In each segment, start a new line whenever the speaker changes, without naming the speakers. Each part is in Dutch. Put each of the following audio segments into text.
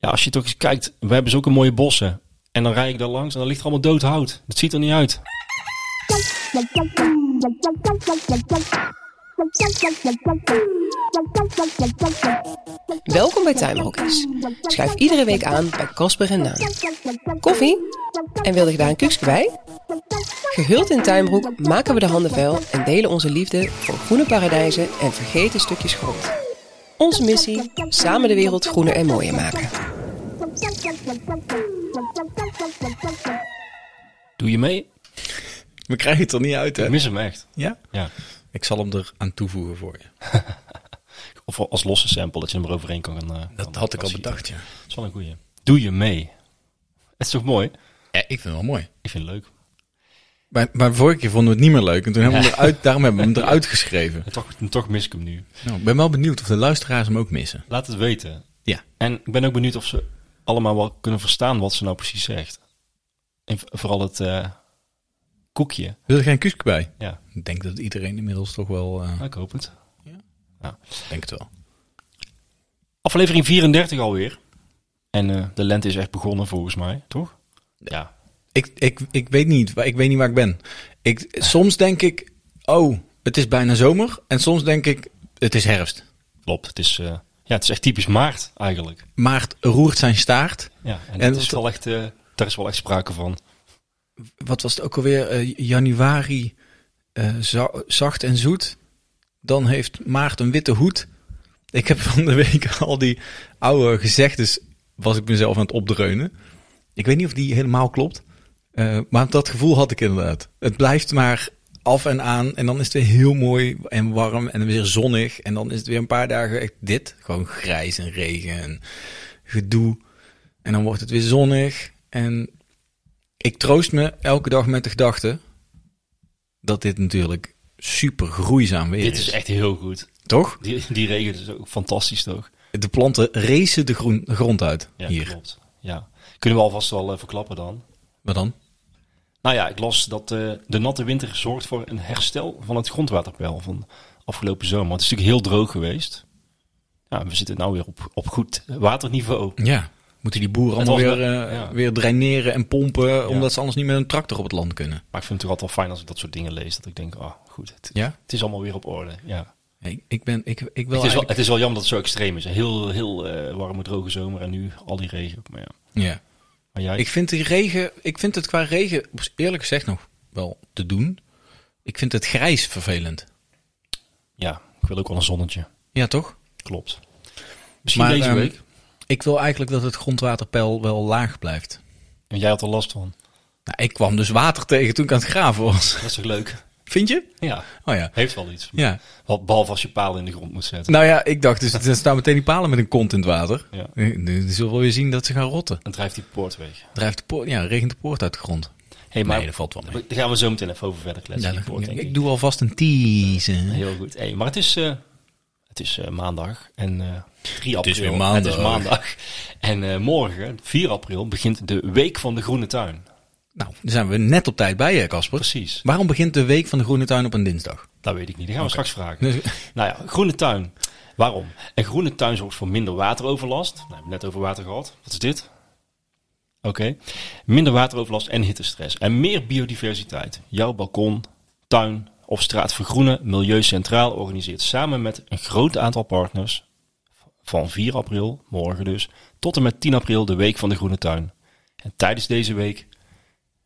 Ja, als je toch eens kijkt, we hebben zulke mooie bossen. En dan rijd ik daar langs en dan ligt er allemaal dood hout. Dat ziet er niet uit.
Welkom bij Tuinbroekjes. Schuif iedere week aan bij Kasper en Naam. Koffie? En wilde je daar een kuksje bij? Gehuld in tuinbroek maken we de handen vuil en delen onze liefde voor groene paradijzen en vergeten stukjes grond. Onze missie: samen de wereld groener en mooier maken.
Doe je mee?
We krijgen het er niet uit, hè?
Ik mis hem echt.
Ja?
Ja.
Ik zal hem er aan toevoegen voor je.
Of als losse sample, dat je hem eroverheen kan. eh, kan
Dat had ik al
klassieken.
bedacht, ja.
Dat is wel een goeie. Doe je mee? Het is toch mooi?
Ja, ik vind het wel mooi.
Ik vind het leuk.
Maar, maar vorige keer vonden we het niet meer leuk. En toen hebben we hem eruit, daarom hebben we hem eruit geschreven.
En toch, en toch mis ik hem nu.
Nou, ik ben wel benieuwd of de luisteraars hem ook missen.
Laat het weten.
Ja.
En ik ben ook benieuwd of ze allemaal wel kunnen verstaan wat ze nou precies zegt. En v- vooral het eh, koekje.
Wil er geen kusk bij?
Ja,
Ik denk dat iedereen inmiddels toch wel... eh,
ik hoop het.
Ik denk het wel.
Aflevering 34 alweer. En eh, de lente is echt begonnen volgens mij, toch? Ja.
Ik, ik, ik weet niet. waar- Ik weet niet waar ik ben. Ik, soms denk ik... Oh, het is bijna zomer. En soms denk ik... Het is herfst.
Klopt. Het is, eh, ja, het is echt typisch maart eigenlijk.
Maart roert zijn staart.
Ja, en,
dat
dat is
is
wel echt, eh, daar is wel echt sprake van.
wat was het ook alweer? eh, januari eh, za- zacht en zoet. Dan heeft maart een witte hoed. Ik heb van de week al die oude gezegdes, was ik mezelf aan het opdreunen. Ik weet niet of die helemaal klopt. eh, maar dat gevoel had ik inderdaad. Het blijft maar af en aan. En dan is het weer heel mooi en warm en weer zonnig. En dan is het weer een paar dagen echt dit. Gewoon grijs en regen en gedoe. En dan wordt het weer zonnig. En ik troost me elke dag met de gedachte dat dit natuurlijk super groeizaam weer
Dit is echt heel goed.
Toch?
Die, die regen is ook fantastisch toch?
De planten racen de groen, de grond uit
Ja,
hier.
klopt. Ja. Kunnen we alvast wel eh, verklappen dan.
Maar dan?
Nou ja, ik las dat eh, de natte winter zorgt voor een herstel van het grondwaterpeil van afgelopen zomer. Het is natuurlijk heel droog geweest. Ja, we zitten nu weer op, op goed waterniveau.
Ja. Moeten die boeren
Het
allemaal
was
weer,
wel-
eh,
ja.
weer draineren en pompen, omdat ze anders niet met een tractor op het land kunnen?
Maar ik vind het toch altijd wel fijn als ik dat soort dingen lees. Dat ik denk, ah goed, het,
Ja?
het is allemaal weer op orde. Ja.
Ik, ik ben, ik, ik wil
Het, is wel,
eigenlijk-
het is wel jammer dat het zo extreem is. Een heel, heel eh, warme, droge zomer en nu al die regen. Maar, ja.
Ja.
maar jij,
Ik vind die regen, ik vind het qua regen, eerlijk gezegd nog wel te doen. Ik vind het grijs vervelend.
ja, ik wil ook wel een zonnetje.
Ja, toch?
Klopt. Misschien deze
ehm,
week.
Ik wil eigenlijk dat het grondwaterpeil wel laag blijft.
En jij had er last van.
Nou, ik kwam dus water tegen toen ik aan het graven was.
Dat is toch leuk?
Vind je?
Ja,
Oh ja.
heeft wel iets.
Ja.
Wat behalve als je palen in de grond moet zetten.
Nou ja, ik dacht dus, er staan meteen die palen met een kont in het water.
Ja.
Eh, Nu zullen we wel weer zien dat ze gaan rotten.
Dan drijft die poort weg.
Drijft de poort, ja, regent de poort uit de grond.
Hey,
Nee, dat valt wel mee.
Daar gaan we zo meteen even over verder kletsen.
Ja,
die
dan-
poort, denk
ik doe alvast een tease.
Heel goed. Hey, maar het is, eh, het is eh, maandag en eh 3 april.
is weer maandag.
Het is maandag. En eh, morgen, 4 april, begint de Week van de Groene Tuin.
Nou, daar zijn we net op tijd bij, hè, Casper.
Precies.
Waarom begint de week van de Groene Tuin op een dinsdag?
Dat weet ik niet. Dat gaan we straks vragen.
Dus-
Nou ja, groene tuin. Waarom? Een groene tuin zorgt voor minder wateroverlast. Nou, we hebben het net over water gehad. Wat is dit? Oké. Minder wateroverlast en hittestress. En meer biodiversiteit. Jouw balkon, tuin of straat vergroenen. Milieu Centraal organiseert samen met een groot aantal partners. Van 4 april, morgen dus, tot en met 10 april de Week van de Groene Tuin. En tijdens deze week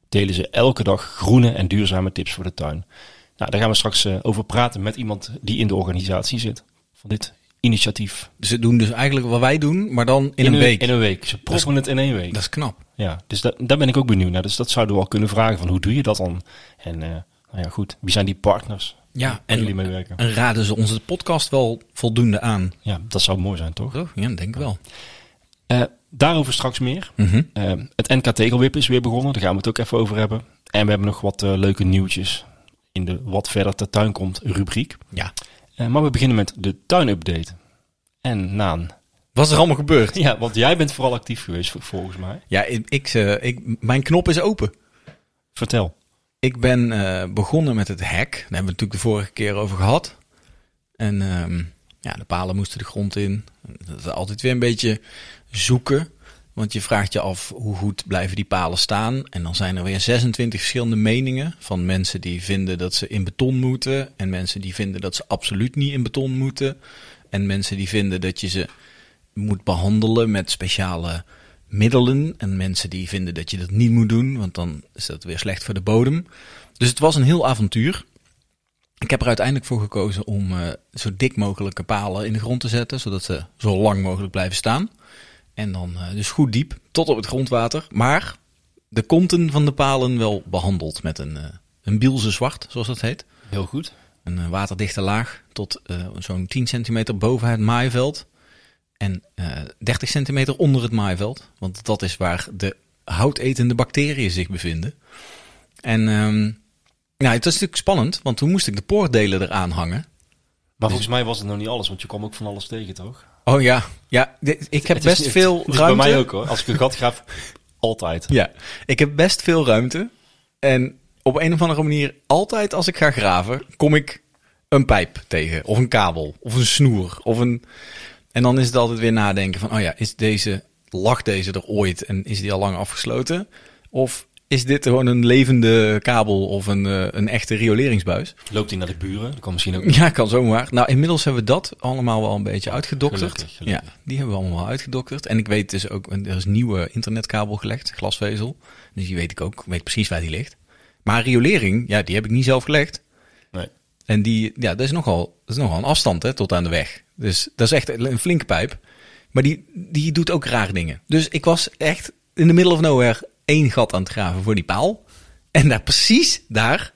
delen ze elke dag groene en duurzame tips voor de tuin. Nou, daar gaan we straks eh, over praten met iemand die in de organisatie zit van dit initiatief.
Ze doen dus eigenlijk wat wij doen, maar dan in, een week.
In een week. Ze proppen het in één week.
Dat is knap.
Ja, dus da- daar ben ik ook benieuwd naar. Dus dat zouden we al kunnen vragen van hoe doe je dat dan? En eh, nou ja, goed, wie zijn die partners?
Ja,
en
en,
jullie mee werken.
en raden ze onze podcast wel voldoende aan?
Ja, dat zou mooi zijn, toch?
Toch? Ja, denk ik wel.
Eh, daarover straks meer.
Mhm.
Eh, het NK Tegelwip is weer begonnen. Daar gaan we het ook even over hebben. En we hebben nog wat eh, leuke nieuwtjes in de Wat Verder Ter Tuin Komt rubriek.
Ja.
Eh, maar we beginnen met de tuinupdate. En Naan.
Wat is er allemaal gebeurd?
Ja, want jij bent vooral actief geweest vol- volgens mij.
Ja, ik, ik, eh, ik, mijn knop is open.
Vertel.
Ik ben eh, begonnen met het hek. Daar hebben we het natuurlijk de vorige keer over gehad. En ehm, ja, de palen moesten de grond in. Dat is altijd weer een beetje zoeken. Want je vraagt je af hoe goed blijven die palen staan. En dan zijn er weer 26 verschillende meningen van mensen die vinden dat ze in beton moeten. En mensen die vinden dat ze absoluut niet in beton moeten. En mensen die vinden dat je ze moet behandelen met speciale middelen. En mensen die vinden dat je dat niet moet doen, want dan is dat weer slecht voor de bodem. Dus het was een heel avontuur. Ik heb er uiteindelijk voor gekozen om eh, zo dik mogelijke palen in de grond te zetten, zodat ze zo lang mogelijk blijven staan. En dan eh, dus goed diep, tot op het grondwater. Maar de konten van de palen wel behandeld met een, eh, een bielse zwart, zoals dat heet.
Heel goed.
Een eh, waterdichte laag tot eh, zo'n 10 centimeter boven het maaiveld. En eh 30 centimeter onder het maaiveld. Want dat is waar de houtetende bacteriën zich bevinden. En ehm, nou, het was natuurlijk spannend, want toen moest ik de poortdelen eraan hangen.
Maar volgens mij was het nog niet alles, want je kwam ook van alles tegen, toch?
Oh ja, ja dit- ik heb
Het is
best
niet-
veel
het is
ruimte.
bij mij ook hoor. Als ik een gat graaf, altijd.
Ja, ik heb best veel ruimte. En op een of andere manier, altijd als ik ga graven, kom ik een pijp tegen. Of een kabel, of een snoer. Of een... En dan is het altijd weer nadenken van, oh ja, is deze, lag deze er ooit en is die al lang afgesloten? Of is dit gewoon een levende kabel of een, eh, een echte rioleringsbuis?
Loopt hij naar de buren? Dat kan misschien ook.
Ja, kan zomaar. Nou, inmiddels hebben we dat allemaal wel een beetje uitgedokterd.
Gelukkig, gelukkig.
Ja, die hebben we allemaal wel uitgedokterd. En ik weet dus ook, er is nieuwe internetkabel gelegd, glasvezel. Dus die weet ik ook, ik weet precies waar die ligt. Maar riolering, ja, die heb ik niet zelf gelegd.
Nee.
En die, ja, dat is nogal, dat is nogal een afstand hè, tot aan de weg. Dus dat is echt een flinke pijp. Maar die, die doet ook raar dingen. Dus ik was echt in de middle of nowhere één gat aan het graven voor die paal. En daar precies daar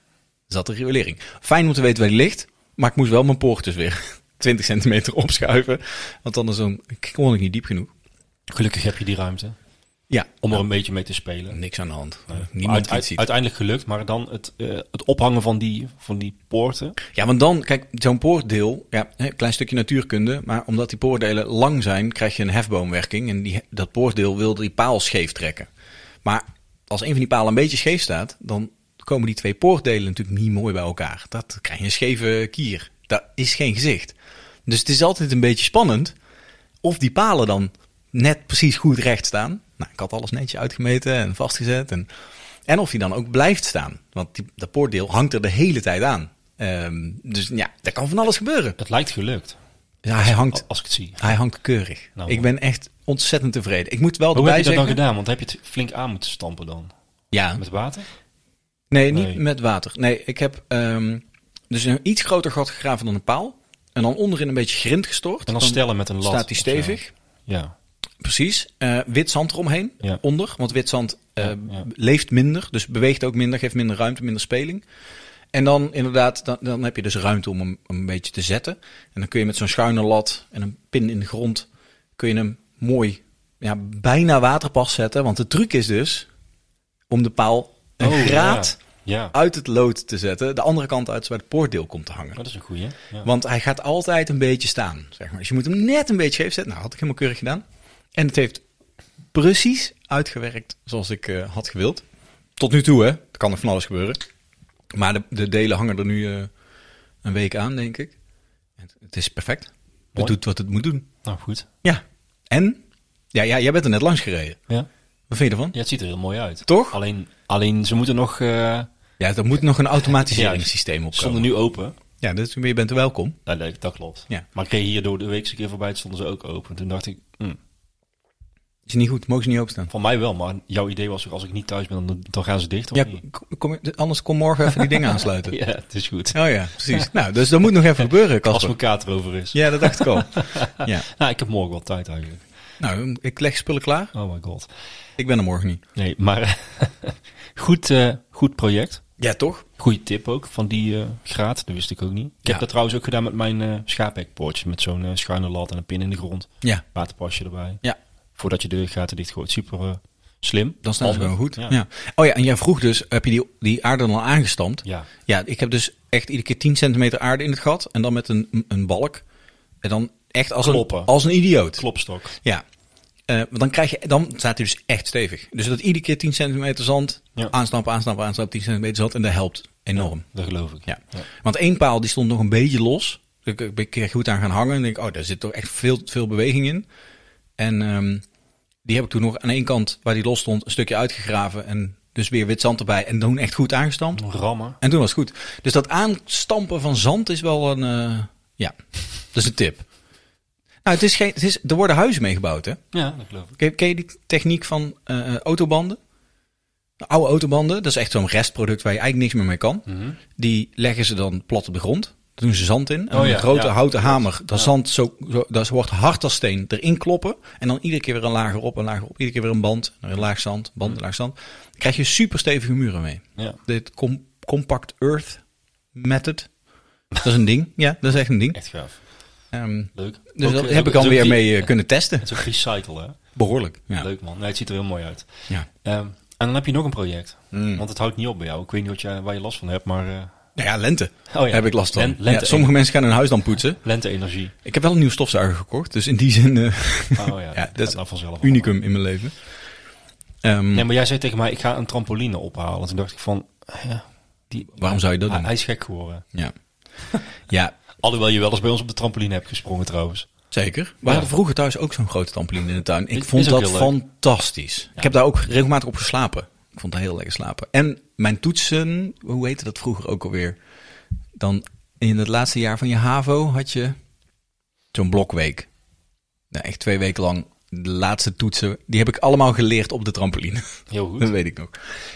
zat de riolering. Fijn om te weten waar die ligt. Maar ik moest wel mijn poort dus weer 20 centimeter opschuiven. Want anders dan kon ik niet diep genoeg.
Gelukkig heb je die ruimte
Ja,
om er een beetje mee te spelen.
niks aan de hand.
Maar
Niemand
uit-
die het
uit-
ziet.
uiteindelijk gelukt, maar dan het, eh, het ophangen van die, van die poorten.
Ja, want dan, kijk, zo'n poortdeel, ja, hè, een klein stukje natuurkunde, maar omdat die poortdelen lang zijn, krijg je een hefboomwerking. En die, dat poortdeel wil die paal scheef trekken. Maar als een van die palen een beetje scheef staat, dan komen die twee poortdelen natuurlijk niet mooi bij elkaar. Dat krijg je een scheve kier. Dat is geen gezicht. Dus het is altijd een beetje spannend of die palen dan net precies goed recht staan. Nou, ik had alles netjes uitgemeten en vastgezet. En, en of die dan ook blijft staan. Want die, dat poortdeel hangt er de hele tijd aan. Ehm, dus ja, daar kan van alles gebeuren.
Het lijkt gelukt,
Ja, hij hangt,
als ik het zie.
hij hangt keurig.
Nou,
ik ben echt ontzettend tevreden. Ik moet wel
Hoe heb
erbij
je dat dan
zeggen...
gedaan? Want heb je het flink aan moeten stampen dan?
Ja,
Met water?
nee, niet
Nee.
met water. Nee, ik heb ehm, dus een iets groter gat gegraven dan een paal. En dan onderin een beetje grind gestort.
En dan stellen met een lat.
staat die
of zo.
stevig.
Ja.
Precies. Eh, wit zand eromheen,
Ja.
onder. Want wit zand eh,
Ja, ja.
leeft minder, dus beweegt ook minder, geeft minder ruimte, minder speling. En dan inderdaad, dan, dan heb je dus ruimte om hem om een beetje te zetten. En dan kun je met zo'n schuine lat en een pin in de grond, kun je hem mooi, ja, bijna waterpas zetten. Want de truc is dus om de paal een
Oh, ja.
graad
Ja.
uit het lood te zetten. De andere kant uit, zodat het poortdeel komt te hangen.
Oh, dat is een goeie. Ja.
Want hij gaat altijd een beetje staan. Zeg maar. Dus je moet hem net een beetje scheef zetten. Nou, had ik helemaal keurig gedaan. En het heeft precies uitgewerkt zoals ik eh, had gewild. Tot nu toe, hè. Er kan nog van alles gebeuren. Maar de, de delen hangen er nu eh, een week aan, denk ik. Het, het is perfect. Het
Mooi.
doet wat het moet doen.
Nou goed.
Ja. En? Ja, ja, jij bent er net langs gereden.
Ja.
Wat vind je ervan?
ja, het ziet er heel mooi uit.
Toch?
Alleen, alleen ze moeten nog... eh
Ja, er moet nog een automatiseringssysteem op
ze stonden nu open.
Ja, dus je bent er welkom.
Nou, nee, dat klopt.
Ja.
Maar ik kreeg hier door de weekse keer voorbij, toen stonden ze ook open. Toen dacht ik,
Mm.
hm,
Is niet goed, mogen ze niet openstaan.
van mij wel, maar jouw idee was toch als ik niet thuis ben, dan, dan gaan ze dicht? Of
Ja,
niet?
kom- kom, anders kom morgen even die dingen aansluiten.
ja, het is goed.
Oh ja, precies. Nou, dus dat moet nog even gebeuren,
Als
Casper.
mijn kaart erover is.
Ja, dat dacht ik al. Ja.
Nou, ik heb morgen wel tijd eigenlijk.
Nou, ik leg spullen klaar.
Oh my god.
Ik ben er morgen niet.
Nee, maar goed, eh, goed project.
Ja, toch?
Goeie tip ook van die eh, graad, dat wist ik ook niet. Ik
Ja.
heb dat trouwens ook gedaan met mijn eh schaaphekpoortje. Met zo'n eh, schuine lat en een pin in de grond.
Ja.
Waterpasje erbij.
Ja.
Voordat je de gaten dichtgooit. Super eh, slim.
Dan staan ze
Handig.
gewoon goed. Ja.
Ja.
Oh ja, en jij vroeg dus, heb je die, die aarde dan al aangestampt?
Ja.
Ja, ik heb dus echt iedere keer 10 centimeter aarde in het gat. En dan met een, een balk. En dan echt als, een,
Kloppen.
als een idioot.
Klopstok.
Ja. Eh, want dan, krijg je, dan staat hij dus echt stevig. Dus dat iedere keer 10 centimeter zand.
Ja.
Aanstampen, aanstampen, aanstampen, 10 centimeter zand. En dat helpt enorm.
Dat geloof ik.
Ja. Want één paal die stond nog een beetje los. Ik ik ben een keer goed aan gaan hangen. En denk, oh, daar zit toch echt veel, veel beweging in. En ehm, Die heb ik toen nog aan één kant waar die los stond een stukje uitgegraven. En dus weer wit zand erbij. En toen echt goed aangestampt.
Rammen.
En toen was het goed. Dus dat aanstampen van zand is wel een... eh, ja, dat is een tip. Nou, het is geen, het is, er worden huizen mee gebouwd, hè?
Ja, dat geloof ik.
Ken, ken je die techniek van eh, autobanden? Oude autobanden, dat is echt zo'n restproduct waar je eigenlijk niks meer mee kan. Die leggen ze dan plat op de grond. Daar doen ze zand in. En
Mhm. Oh
met
ja,
een grote
ja.
houten hamer. Dat
Ja.
zand zo, zo, dat wordt hard als steen erin kloppen. En dan iedere keer weer een lager op, een lager op. Iedere keer weer een band, een laag zand, band, een laag zand. Dan krijg je super stevige muren mee.
Mhm. Ja.
Dit com- Compact Earth Method. Dat is een ding. Ja, dat is echt een ding.
Echt gaaf.
Ehm,
Leuk.
dus
Ook- eh,
dat
ook-
heb ik
het is
dan
ook
weer
re-
mee eh, kunnen testen.
Het is ook recycle, hè?
Behoorlijk. Ja.
Leuk man. Nee, het ziet er heel mooi uit.
Ja.
Ehm, en dan heb je nog een project.
Mm.
Want het houdt niet op bij jou. Ik weet niet wat jij, waar je last van hebt, maar eh,
Nou ja, lente.
Oh ja.
Heb ik last van.
Len- lente.
Ja, sommige mensen gaan hun huis dan poetsen.
lente-energie.
Ik heb wel een nieuwe stofzuiger gekocht. Dus in die zin, eh
Oh ja,
Ja, dat
gaat
is
dan vanzelf.
unicum in mijn leven. Ehm,
Nee, maar jij zei tegen mij, ik ga een trampoline ophalen. Toen dacht ik van, ja, die,
Waarom zou je dat
hij,
doen?
hij is gek geworden.
Ja. ja,
Alhoewel je wel eens bij ons op de trampoline hebt gesprongen trouwens.
zeker. We hadden vroeger thuis ook zo'n grote trampoline in de tuin. Ik
Is-
vond
is ook
dat
heel leuk.
fantastisch. Ik heb daar ook regelmatig op geslapen. Ik vond het heel lekker slapen. En mijn toetsen, hoe heette dat vroeger ook alweer? Dan in het laatste jaar van je HAVO had je zo'n blokweek. Nou, echt twee weken lang. De laatste toetsen, die heb ik allemaal geleerd op de trampoline.
Heel goed.
Dat weet ik nog.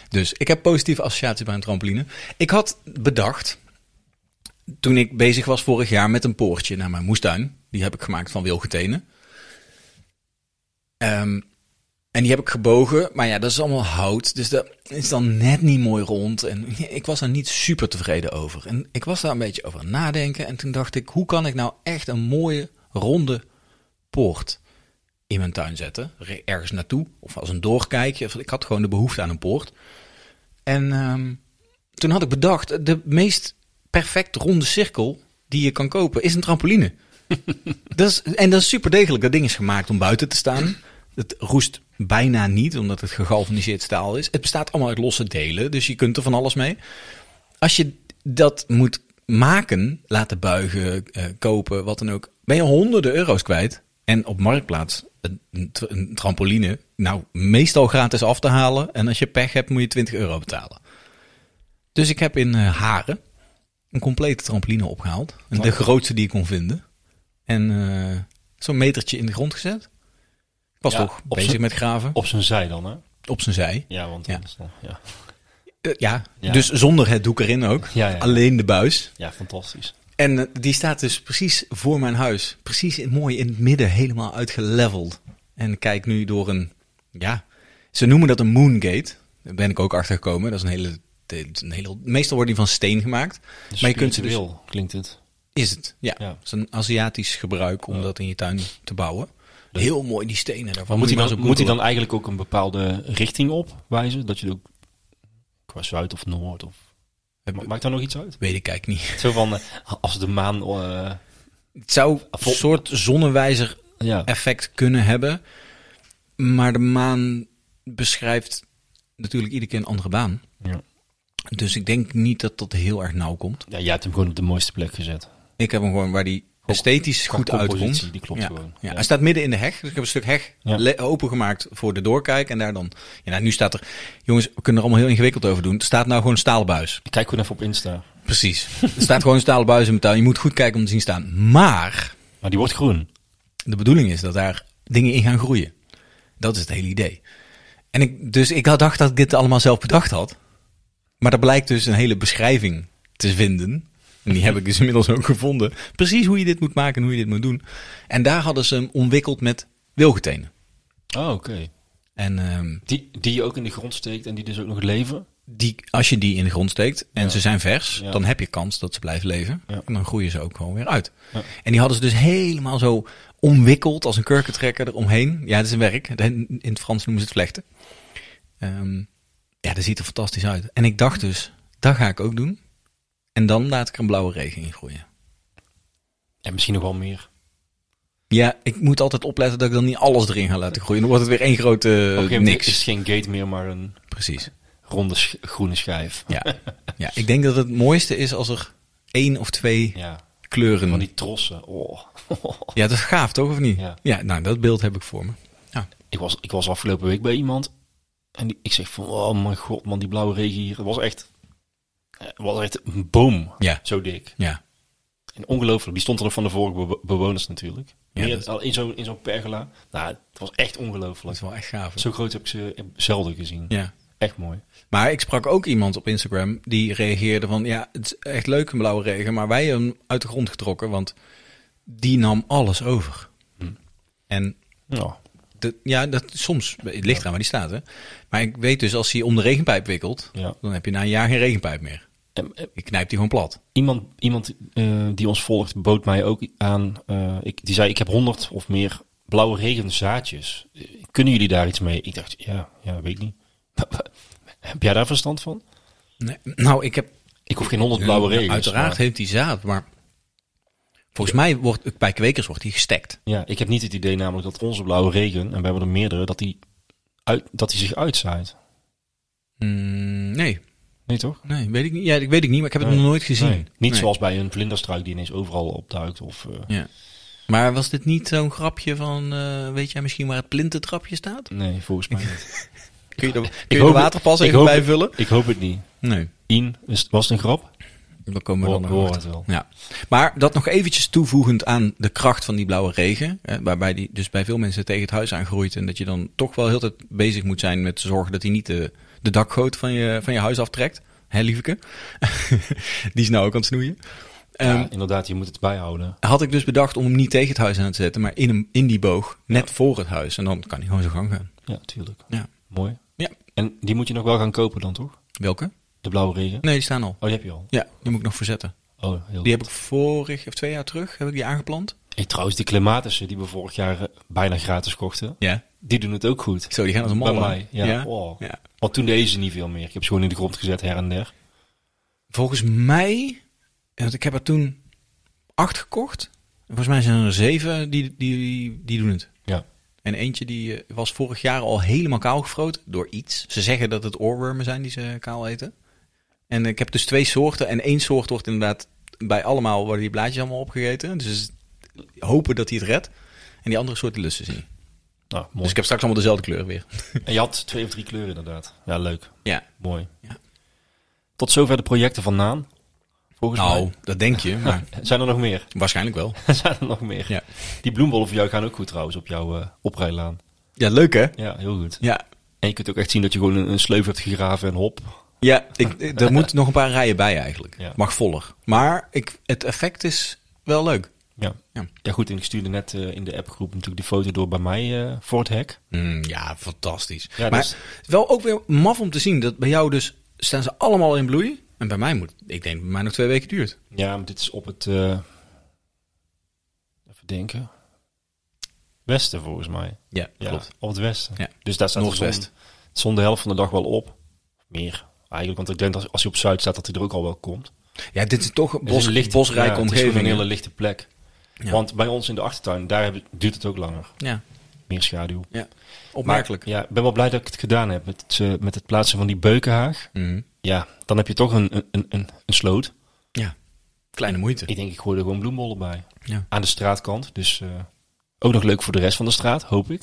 Dus ik heb positieve associaties bij een trampoline. Ik had bedacht, toen ik bezig was vorig jaar met een poortje naar mijn moestuin. Die heb ik gemaakt van wilgetenen. Ehm, en die heb ik gebogen. Maar ja, dat is allemaal hout. Dus dat is dan net niet mooi rond. En ik was daar niet super tevreden over. En ik was daar een beetje over aan het nadenken. En toen dacht ik, hoe kan ik nou echt een mooie ronde poort in mijn tuin zetten. Re- Ergens naartoe. Of als een doorkijkje. Of- Ik had gewoon de behoefte aan een poort. En ehm, toen had ik bedacht, de meest perfect ronde cirkel die je kan kopen is een trampoline. dat is, en dat is super degelijk. Dat ding is gemaakt om buiten te staan. Het roest bijna niet, omdat het gegalvaniseerd staal is. Het bestaat allemaal uit losse delen, dus je kunt er van alles mee. Als je dat moet maken, laten buigen, eh, kopen, wat dan ook, ben je honderden euro's kwijt. En op marktplaats een, een tr- een trampoline, nou, meestal gratis af te halen. En als je pech hebt, moet je 20 euro betalen. Dus ik heb in eh, Haren een complete trampoline opgehaald. En De grootste die ik kon vinden. En eh, zo'n metertje in de grond gezet. Ik was
Ja,
toch
op
bezig
z'n-
met graven. Op,
Op zijn zij dan, hè?
zijn zij.
Ja, want
Ja.
anders dan- ja.
Eh, ja.
Ja.
dus zonder het doek erin ook.
Ja, ja.
Alleen de buis.
ja, fantastisch.
En eh, die staat dus precies voor mijn huis. Precies in, mooi in het midden, helemaal uitgeleveld. En ik kijk nu door een, ja, ze noemen dat een moongate. Daar ben ik ook achter gekomen. Dat is een hele, de- een hele meestal worden die van steen gemaakt. maar je kunt ze dus,
wil, klinkt het.
is het, ja.
Ja.
Het is een Aziatisch gebruik om dat in je tuin te bouwen. Heel mooi die stenen daarvan.
Maar moet,
je
hij
maar
dan,
eens op
moet hij
googlen.
dan eigenlijk ook een bepaalde richting op wijzen? Dat je ook qua zuid of noord of... Ma- Maakt daar nog iets uit?
Weet ik eigenlijk niet.
Zo van, eh, als de maan... eh,
Het zou een
Vol-
soort zonnewijzer
ja.
effect kunnen hebben. Maar de maan beschrijft natuurlijk iedere keer een andere baan.
ja.
Dus ik denk niet dat dat heel erg nauw komt.
Ja, jij hebt hem gewoon op de mooiste plek gezet.
Ik heb hem gewoon waar die esthetisch
qua
goed
compositie,
uitkomt.
die klopt
ja.
gewoon.
Ja.
Ja.
Hij staat midden in de heg. Dus ik heb een stuk heg
Ja.
le- opengemaakt voor de doorkijk. En daar dan... Ja, nou, nu staat er... Jongens, we kunnen er allemaal heel ingewikkeld over doen. Er staat nou gewoon een staalbuis.
Ik Kijk gewoon even op Insta.
Precies. er staat gewoon een staalbuis in mijn tuin. Je moet goed kijken om te zien staan. Maar...
Maar die wordt groen.
De bedoeling is dat daar dingen in gaan groeien. Dat is het hele idee. En ik, dus ik had dacht dat ik dit allemaal zelf bedacht had. Maar er blijkt dus een hele beschrijving te vinden. En die heb ik dus inmiddels ook gevonden. Precies hoe je dit moet maken en hoe je dit moet doen. En daar hadden ze hem omwikkeld met wilgetenen.
Oh, oké.
En ehm,
Die, die je ook in de grond steekt en die dus ook nog leven.
die, als je die in de grond steekt en
Ja.
ze zijn vers,
Ja.
dan heb je kans dat ze blijven leven.
Ja.
En dan groeien ze ook gewoon weer uit.
Ja.
En die hadden ze dus helemaal zo omwikkeld als een kurkentrekker eromheen. Ja, dat is een werk. In het Frans noemen ze het vlechten. Ehm, ja, dat ziet er fantastisch uit. En ik dacht dus, dat ga ik ook doen. En dan laat ik er een blauwe regen in groeien.
En misschien nog wel meer.
Ja, ik moet altijd opletten dat ik dan niet alles erin ga laten groeien. Dan wordt het weer één grote
op een gegeven moment
niks.
is het geen gate meer, maar een
Precies.
ronde sch- groene schijf.
Ja. ja, ik denk dat het mooiste is als er één of twee
Ja.
kleuren
Van die trossen. Oh.
Ja, dat is gaaf toch, of niet?
Ja.
nou, dat beeld heb ik voor me. Ja.
Ik, was, ik was afgelopen week bij iemand en die, ik zeg van, oh mijn god man, die blauwe regen hier. Het was echt, eh, het was echt een boom,
Ja.
zo dik.
Ja.
En ongelooflijk, die stond er nog van de vorige bewo- bewoners natuurlijk.
Ja,
Meer
dat-
al in zo'n in zo'n pergola. Nou, het was echt
Dat
ongelooflijk.
is wel echt gaaf.
Zo groot heb ik ze zelden gezien.
Ja.
Echt mooi.
Maar ik sprak ook iemand op Instagram die reageerde van... Ja, het is echt leuk een blauwe regen, maar wij hebben hem uit de grond getrokken. Want die nam alles over. En
Ja.
de, ja, dat, soms, het ligt eraan waar die staat hè. Maar ik weet dus als hij om de regenpijp wikkelt,
Ja.
dan heb je na een jaar geen regenpijp meer.
En, eh,
Ik knijp die gewoon plat.
iemand iemand eh, die ons volgt bood mij ook aan. eh, ik, die zei: Ik heb honderd of meer blauwe regenzaadjes. Eh, Kunnen jullie daar iets mee? Ik dacht: Ja, ja weet ik niet. heb jij daar verstand van?
Nee, nou, ik heb
Ik hoef geen honderd blauwe
Ja,
regens.
Uiteraard
maar-
heeft hij zaad, maar volgens mij wordt bij kwekers wordt hij gestekt.
ja, ik heb niet het idee namelijk dat onze blauwe regen, en we hebben er meerdere, dat die, uit, dat die zich uitzaait.
Mm, nee,
Nee toch?
nee, weet ik niet. Ja, ik weet ik niet, maar ik heb het
Nee.
nog nooit gezien.
Nee. Niet
Nee.
zoals bij een vlinderstruik die ineens overal opduikt. Of, eh,
Ja. Maar was dit niet zo'n grapje van, eh, weet jij misschien waar het plintentrapje staat?
Nee, volgens mij niet.
Kun je de, kun
Ik
je
hoop
de
het-
waterpas
ik
even
hoop-
bijvullen?
Ik hoop het niet.
Nee,
In, is, was het een grap?
dan komen we
Hoor-
dan nog
hoor
achter.
het wel.
Ja. Maar dat nog eventjes toevoegend aan de kracht van die blauwe regen, hè, waarbij die dus bij veel mensen tegen het huis aangroeit en dat je dan toch wel heel de tijd bezig moet zijn met zorgen dat hij niet de, de dakgoot van je, van je huis aftrekt. Hè, lieveke? die is nou ook aan het snoeien. Ehm,
ja, inderdaad, je moet het bijhouden.
Had ik dus bedacht om hem niet tegen het huis aan te zetten, maar in, hem, in die boog, net voor het huis. En dan kan hij gewoon zijn gang gaan.
Ja, tuurlijk.
Ja.
Mooi.
Ja.
En die moet je nog wel gaan kopen dan, toch?
Welke?
De blauwe regen?
Nee, die staan al.
Oh, die heb je al.
Ja, die moet ik nog verzetten.
Oh, heel
Die
goed.
heb ik vorig of twee jaar terug heb ik die aangeplant.
Hey, trouwens, die klimatissen die we vorig jaar eh, bijna gratis kochten,
Ja.
die doen het ook goed.
Zo, die gaan als een
Bij
malle.
mij, ja. Oh.
ja.
Want toen deden ze niet veel meer. Ik heb ze gewoon in de grond gezet her en der.
Volgens mij, want ik heb er toen acht gekocht. Volgens mij zijn er zeven die, die, die doen het.
Ja.
En eentje die eh, was vorig jaar al helemaal kaal gefroten door iets. Ze zeggen dat het oorwormen zijn die ze kaal eten. En ik heb dus twee soorten. En één soort wordt inderdaad bij allemaal worden die blaadjes allemaal opgegeten. Dus hopen dat hij het redt. En die andere soort die lusten zien.
Nou, mooi.
Dus ik heb straks allemaal dezelfde kleur weer.
En je had twee of drie kleuren inderdaad. Ja, leuk.
Ja.
Mooi.
Ja.
Tot zover de projecten van Naan. Volgens
Nou,
mij.
dat denk je, maar
Zijn er nog meer?
waarschijnlijk wel.
Zijn er nog meer?
Ja.
Die bloembollen voor jou gaan ook goed trouwens op jouw eh oprijlaan.
Ja, leuk hè?
Ja, heel goed.
Ja,
En je kunt ook echt zien dat je gewoon een, een sleuf hebt gegraven en hop.
Ja, ik, ik- er moet nog een paar rijen bij eigenlijk.
Ja.
Mag voller. Maar ik, het effect is wel leuk.
Ja.
Ja.
ja. goed. En ik stuurde net eh, in de appgroep natuurlijk die foto door bij mij eh, voor het hek.
Mm, ja, fantastisch.
Ja,
maar
dus-
wel ook weer maf om te zien dat bij jou dus staan ze allemaal in bloei. En bij mij moet, ik denk dat bij mij nog twee weken duurt.
Ja, maar dit is op het... eh, even denken. Westen volgens mij.
Ja,
Ja,
klopt.
Op het westen.
Ja.
Dus daar staat de zon,
Noordwest.
de zon de helft van de dag wel op. Meer eigenlijk. Want ik denk dat als, als je op zuid staat dat hij er ook al wel komt.
Ja, dit is toch een
Het
bos,
is een lichte- ja,
bosrijke
het is gewoon
omgeving.
een hele
Hele...
lichte plek.
Ja.
Want bij ons in de achtertuin, daar heb- duurt het ook langer.
Ja,
Meer schaduw.
ja. opmerkelijk.
Maar, ja, ik ben wel blij dat ik het gedaan heb met het, eh, met het plaatsen van die beukenhaag.
Mhm.
Ja, dan heb je toch een, een, een, een sloot.
Ja, kleine moeite.
Ik denk, ik gooi er gewoon bloembollen bij.
Ja.
Aan de straatkant. Dus eh, ook nog leuk voor de rest van de straat, hoop ik.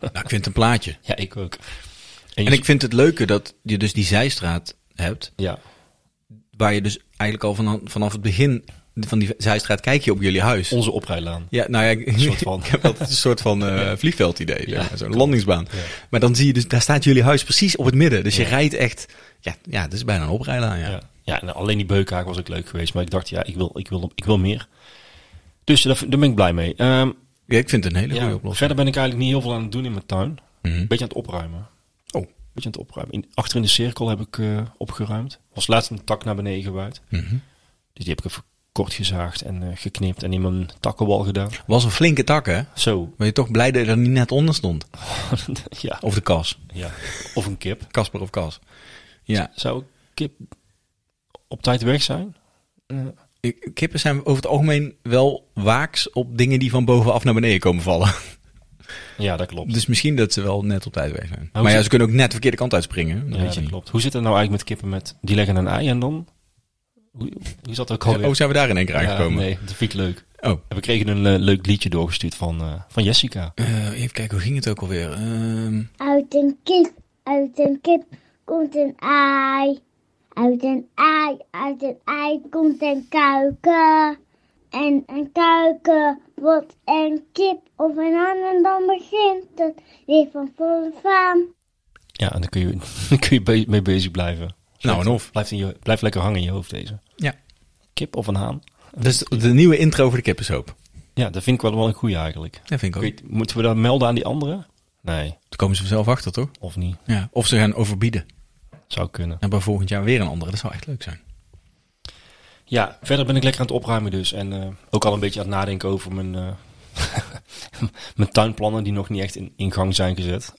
Nou, ik vind het een plaatje.
ja, ik ook.
En ik vind het leuke dat je dus die zijstraat hebt.
Ja,
waar je dus eigenlijk al vanaf, vanaf het begin van die zijstraat kijk je op jullie huis.
onze oprijlaan.
Ja, nou ja, ik,
soort van.
ik heb altijd een soort van eh vliegveld idee,
Ja.
zo'n landingsbaan. Maar dan zie je dus, daar staat jullie huis precies op het midden. Dus je rijdt echt, ja, ja, dat is bijna een oprijlaan, ja.
Ja. Ja, en alleen die beukenhaag was ook leuk geweest. Maar ik dacht, ja, ik wil, ik wil, ik wil meer. Dus daar, daar ben ik blij mee. Ehm,
Ja, ik vind het een hele goede
ja,
oplossing.
verder ben ik eigenlijk niet heel veel aan het doen in mijn tuin.
Mhm.
Een beetje aan het opruimen.
Oh.
Beetje aan het opruimen. In, achter in de cirkel heb ik eh, opgeruimd. Was laatst een tak naar beneden gewaaid.
Mhm.
Dus die heb ik even kort gezaagd en eh, geknipt en in mijn takkenwal gedaan.
Was een flinke tak, hè?
Zo.
Ben je toch blij dat je er niet net onder stond?
ja,
Of de kas.
ja. Of een kip.
Kasper of kas. Ja,
Zou een kip op tijd weg zijn?
ik- kippen zijn over het algemeen wel waaks op dingen die van bovenaf naar beneden komen vallen.
Ja, dat klopt.
Dus misschien dat ze wel net op tijd weg zijn. Maar,
hoe
ja,
zit-
ze kunnen ook net de verkeerde kant uitspringen. Dat
Ja,
weet je
dat
niet.
klopt. Hoe zit het nou eigenlijk met kippen met... Die leggen een ei en dan... Hoe, hoe is dat ook alweer?
Oh, zijn we daar in één keer aangekomen?
Ja, nee, dat vind ik leuk.
Oh.
En we kregen een eh, leuk liedje doorgestuurd van, eh, van Jessica.
Eh, even kijken, hoe ging het ook alweer? Ehm,
Uit een kip, uit een kip komt een ei. Uit een ei, uit een ei komt een kuiken. En een kuiken wordt een kip of een han en dan begint het weer van volle faam.
Ja, en dan kun je, dan kun je be- mee bezig blijven.
nou, en of.
Blijf, in je, blijf lekker hangen in je hoofd deze.
Ja.
Kip of een haan?
Dus de nieuwe intro voor de kippershoop.
Ja, dat vind ik wel, wel een goeie eigenlijk.
Dat vind ik
Ik
ook.
weet- moeten we dat melden aan die anderen? Nee,
Daar komen ze vanzelf achter, toch?
of niet.
Ja. Of ze gaan overbieden.
Zou kunnen.
En bij volgend jaar weer een andere. Dat zou echt leuk zijn.
Ja, verder ben ik lekker aan het opruimen dus. En eh, ook al een beetje aan het nadenken over mijn, eh, mijn tuinplannen die nog niet echt in, in gang zijn gezet.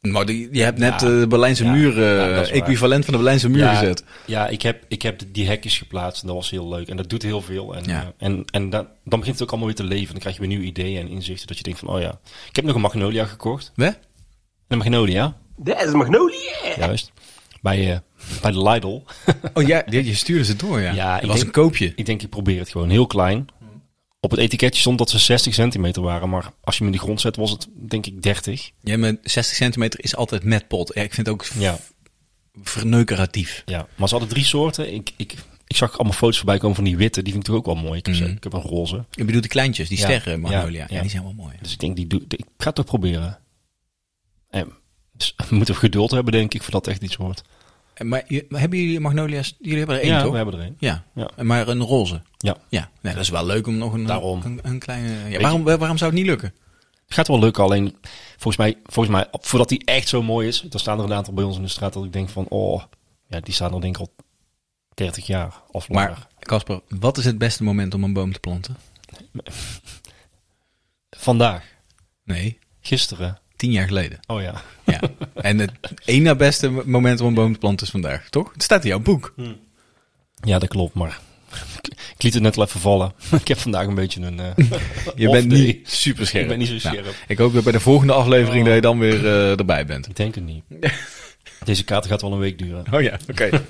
Maar die, je hebt net
Ja.
eh, de Berlijnse
Ja.
muur, eh,
Ja, dat is waar.
equivalent van de Berlijnse muur
ja,
gezet.
Ja, ik heb, ik heb die hekjes geplaatst en dat was heel leuk. En dat doet heel veel. En,
Ja.
eh, en, en dan, dan begint het ook allemaal weer te leven. Dan krijg je weer nieuwe ideeën en inzichten dat je denkt van, oh ja. Ik heb nog een magnolia gekocht.
Hè?
Een magnolia,
Dat is een magnolia.
juist. Bij, eh, bij de Lidl.
Oh ja, je, je stuurde ze door, ja.
Ja,
dat
ik
was
denk-
een koopje.
Ik denk, ik probeer het gewoon heel klein. Op het etiketje stond dat ze 60 centimeter waren. Maar als je hem in de grond zet, was het denk ik 30.
Ja, maar 60 centimeter is altijd met pot. Ja, ik vind het ook v-
Ja.
verneukeratief.
Ja, maar ze hadden drie soorten. Ik, ik, ik zag allemaal foto's voorbij komen van die witte. Die vind ik toch ook wel mooi. Ik heb,
Mhm.
ze- ik heb een roze.
Ik bedoel, de kleintjes, die
Ja,
sterren, Magnolia.
ja,
Ja,
ja.
die zijn wel mooi.
Dus ik denk, die doe, ik ga het toch proberen. En, dus, we moeten geduld hebben, denk ik, voordat het echt iets wordt.
En Maar, je- maar hebben jullie Magnolia's? Jullie hebben er één,
ja,
toch?
we hebben er een.
Ja.
Ja.
En maar een roze.
Ja.
Ja, nee, dat is wel leuk om nog een,
Daarom.
een, een kleine... Ja, waarom, eh, waarom zou het niet lukken?
Het gaat wel lukken, alleen volgens mij, volgens mij, voordat die echt zo mooi is, dan staan er een aantal bij ons in de straat dat ik denk van, oh, ja, die staan er denk ik al 30 jaar of langer.
Maar Casper, wat is het beste moment om een boom te planten?
Vandaag,
Nee,
gisteren,
tien jaar geleden.
oh ja.
Ja. en het één na beste moment om een boom te planten is vandaag, toch? Het staat in jouw boek.
Ja, dat klopt, maar ik, ik liet het net wel even vallen. ik heb vandaag een beetje een... eh,
Je
off
bent
day.
niet super scherp.
Ik ben niet zo scherp.
ik hoop dat bij de volgende aflevering dat je dan weer eh, erbij bent.
Ik denk het niet. Deze kaart gaat wel een week duren.
Oh ja, oké.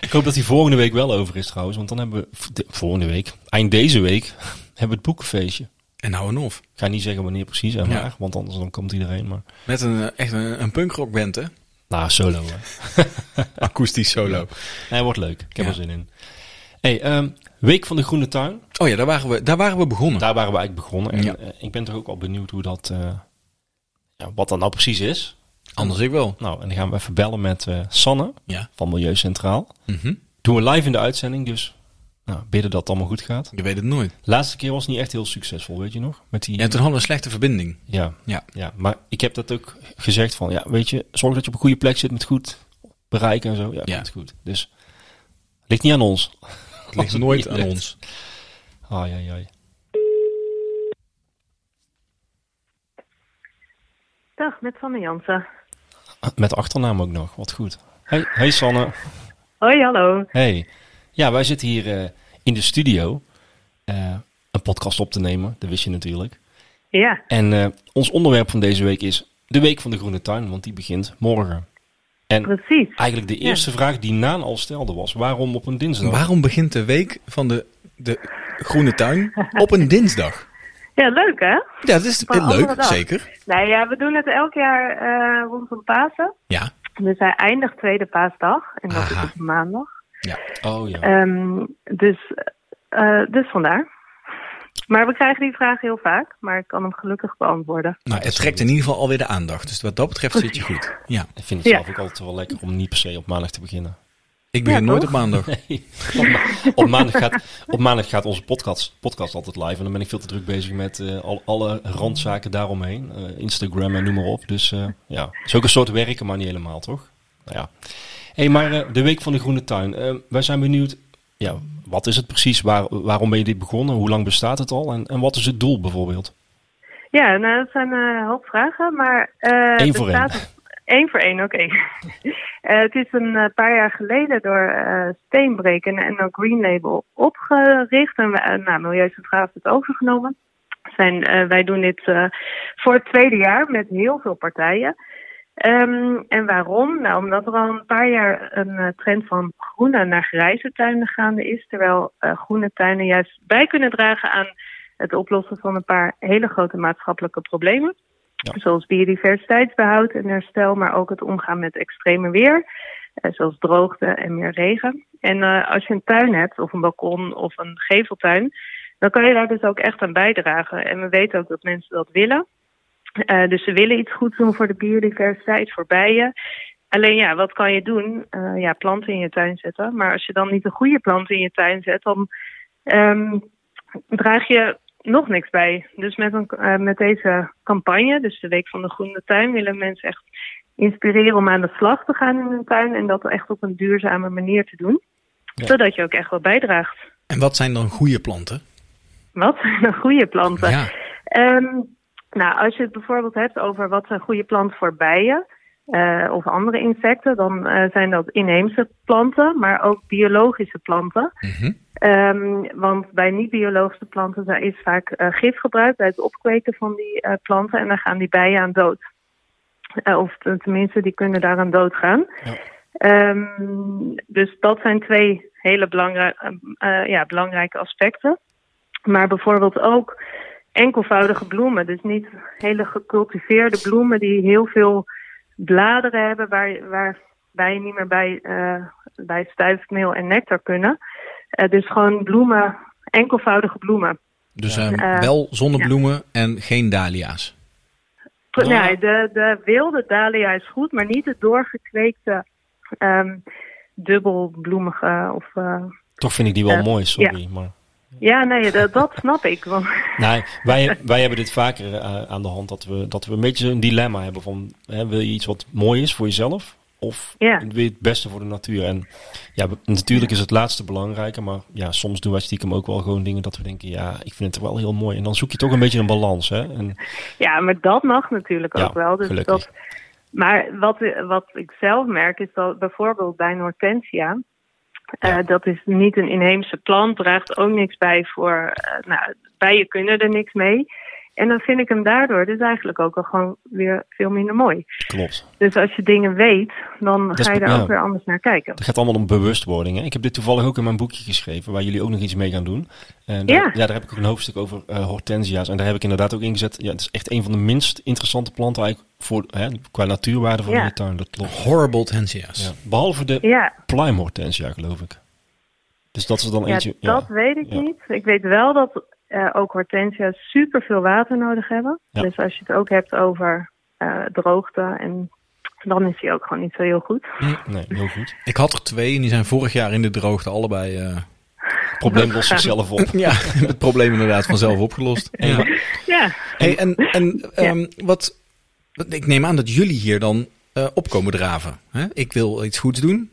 Ik hoop dat die volgende week wel over is trouwens. Want dan hebben we v- de- volgende week, eind deze week, hebben we het boekenfeestje.
en nou en of.
Ik ga niet zeggen wanneer precies en waar,
Ja.
want anders dan komt iedereen. Maar
Met een, eh, echt een, een punkrockband, hè?
nou, solo. Hè.
Akoestisch solo.
Nee, wordt leuk. Ik heb
Ja.
er zin in. Hey, ehm, week van de Groene Tuin.
Oh ja, daar waren we, daar waren we begonnen.
Daar waren we eigenlijk begonnen. En
Ja.
eh, ik ben toch ook al benieuwd hoe dat, eh, ja, wat dat nou precies is.
Anders ik wel.
Nou, en dan gaan we even bellen met eh, Sanne
Ja.
van Milieu Centraal.
Mhm.
Doen we live in de uitzending, dus nou, bidden dat het allemaal goed gaat.
Je weet het nooit.
Laatste keer was het niet echt heel succesvol, weet je nog? Met die,
Ja, toen hadden we een slechte verbinding.
ja,
Ja.
ja, maar ik heb dat ook gezegd van, ja, weet je, zorg dat je op een goede plek zit met goed bereik en zo. Ja,
Ja.
komt goed. Dus ligt niet aan ons.
Het ligt nooit aan ons.
Ai, ai, ai.
Dag, met Sanne Jansen.
Met achternaam ook nog, wat goed. Hey, hey Sanne.
Hoi, hallo.
Hey. Ja, wij zitten hier eh, in de studio eh, een podcast op te nemen, dat wist je natuurlijk.
Ja,
En eh, ons onderwerp van deze week is de Week van de Groene Tuin, want die begint morgen. En
precies.
eigenlijk de eerste vraag die Naan al stelde was, waarom op een dinsdag?
Waarom begint de week van de, de groene tuin op een dinsdag?
Ja, leuk hè?
Ja, dat is
Op een andere
leuk,
dag.
zeker.
Nou ja, we doen het elk jaar eh, rondom Pasen.
Ja,
Dus hij eindigt tweede paasdag. En dat
Aha.
is op maandag.
Oh ja.
Ehm, dus, eh, dus vandaar. Maar we krijgen die vraag heel vaak. Maar ik kan hem gelukkig beantwoorden.
nou, het trekt in ieder geval alweer de aandacht. Dus wat dat betreft zit je goed. Ja,
Ik vind het
Ja.
zelf ook altijd wel lekker om niet per se op maandag te beginnen.
ik begin
Ja,
nooit
toch?
op maandag.
op, ma- op maandag gaat, op maandag gaat onze podcast, podcast altijd live. En dan ben ik veel te druk bezig met eh, al, alle randzaken daaromheen. Eh, Instagram en noem maar op. Dus eh, ja, het is ook een soort werken, maar niet helemaal, toch? Nou ja. hey, maar eh, de Week van de Groene Tuin. Eh, wij zijn benieuwd, ja, wat is het precies? Waar, waarom ben je dit begonnen? Hoe lang bestaat het al? En, en wat is het doel bijvoorbeeld?
Ja, nou dat zijn eh, een hoop vragen. Maar, eh
Eén voor
er staat- Eén voor één, oké. Eh, het is een eh, paar jaar geleden door eh Steenbreek en NL Green Label opgericht. En we- eh, nou, Milieucentraal heeft het overgenomen. Zijn, eh, wij doen dit eh, voor het tweede jaar met heel veel partijen. Ehm, en waarom? Nou, omdat er al een paar jaar een eh, trend van groene naar grijze tuinen gaande is. Terwijl eh, groene tuinen juist bij kunnen dragen aan het oplossen van een paar hele grote maatschappelijke problemen.
Ja.
Zoals biodiversiteitsbehoud en herstel, maar ook het omgaan met extreme weer. eh, zoals droogte en meer regen. En eh, als je een tuin hebt, of een balkon of een geveltuin, dan kan je daar dus ook echt aan bijdragen. En we weten ook dat mensen dat willen. Eh, dus ze willen iets goed doen voor de biodiversiteit, voor bijen. Alleen ja, wat kan je doen? Eh, ja, planten in je tuin zetten. Maar als je dan niet de goede planten in je tuin zet, dan ehm, draag je nog niks bij. Dus met, een, eh, met deze campagne, dus de Week van de Groene Tuin, willen mensen echt inspireren om aan de slag te gaan in hun tuin. En dat echt op een duurzame manier te doen.
Ja.
Zodat je ook echt wat bijdraagt.
En wat zijn dan goede planten?
Wat zijn dan goede planten?
Ja.
Ehm, nou, als je het bijvoorbeeld hebt over wat zijn goede planten voor bijen eh, of andere insecten, dan eh, zijn dat inheemse planten, maar ook biologische planten.
Mhm.
Ehm, want bij niet-biologische planten daar is vaak eh, gif gebruikt bij het opkweken van die eh, planten en dan gaan die bijen aan dood. Eh, of ten- tenminste, die kunnen daaraan doodgaan.
Ja.
Ehm, dus dat zijn twee hele belangrij- eh, eh, ja, belangrijke aspecten. Maar bijvoorbeeld ook enkelvoudige bloemen. Dus niet hele gecultiveerde bloemen die heel veel bladeren hebben waar, waar bijen niet meer bij, eh bij stuifmeel en nectar kunnen. Eh, dus gewoon bloemen, enkelvoudige bloemen.
Dus
Ja.
ehm,
Eh,
wel zonnebloemen en geen dahlia's.
Pro-
Ja.
Nee, de, de wilde dahlia is goed, maar niet de doorgekweekte ehm, dubbelbloemige. Of, eh,
Toch vind ik die wel
Eh,
mooi, sorry. Maar,
Ja, nee, dat, dat snap ik. Want
nee, wij, wij hebben dit vaker eh, aan de hand dat we, dat we een beetje een dilemma hebben van hè, wil je iets wat mooi is voor jezelf of
Ja.
wil je het beste voor de natuur? En ja, we- natuurlijk is het laatste belangrijker, maar ja, soms doen wij stiekem ook wel gewoon dingen dat we denken ja, ik vind het wel heel mooi. En dan zoek je toch een beetje een balans. Hè? En,
Ja, maar dat mag natuurlijk
Ja,
ook wel. Dus
gelukkig.
dat, maar wat, wat ik zelf merk is dat bijvoorbeeld bij een hortensia... eh, dat is niet een inheemse plant, draagt ook niks bij voor... eh, nou, bijen kunnen er niks mee. En dan vind ik hem daardoor dus eigenlijk ook al gewoon weer veel minder mooi.
klopt.
Dus als je dingen weet, dan
is
ga je daar
be-
ook
ja.
weer anders naar kijken.
Het gaat allemaal om bewustwording. Hè? Ik heb dit toevallig ook in mijn boekje geschreven, waar jullie ook nog iets mee gaan doen. En daar,
Ja.
ja, daar heb ik ook een hoofdstuk over eh, hortensia's. En daar heb ik inderdaad ook ingezet. Ja, het is echt een van de minst interessante planten eigenlijk voor, hè, qua natuurwaarde van
Ja.
de tuin. Dat klopt.
Horrible tensia's.
Ja. Behalve de
Ja,
pluimhortensia, geloof ik. Dus dat is dan
ja
eentje.
dat
ja.
weet ik
Ja.
niet. Ik weet wel dat eh, ook hortensia's super veel water nodig hebben.
Ja.
Dus als je het ook hebt over eh, droogte, en, dan is die ook gewoon niet zo heel goed.
Nee, heel goed.
Ik had er twee en die zijn vorig jaar in de droogte allebei. eh,
Het probleem lost zichzelf op.
ja, het probleem inderdaad vanzelf opgelost.
Ja.
Ja.
Ja,
Hey, en en ehm, wat, wat- ik neem aan dat jullie hier dan eh opkomen draven. Hè? Ik wil iets goeds doen.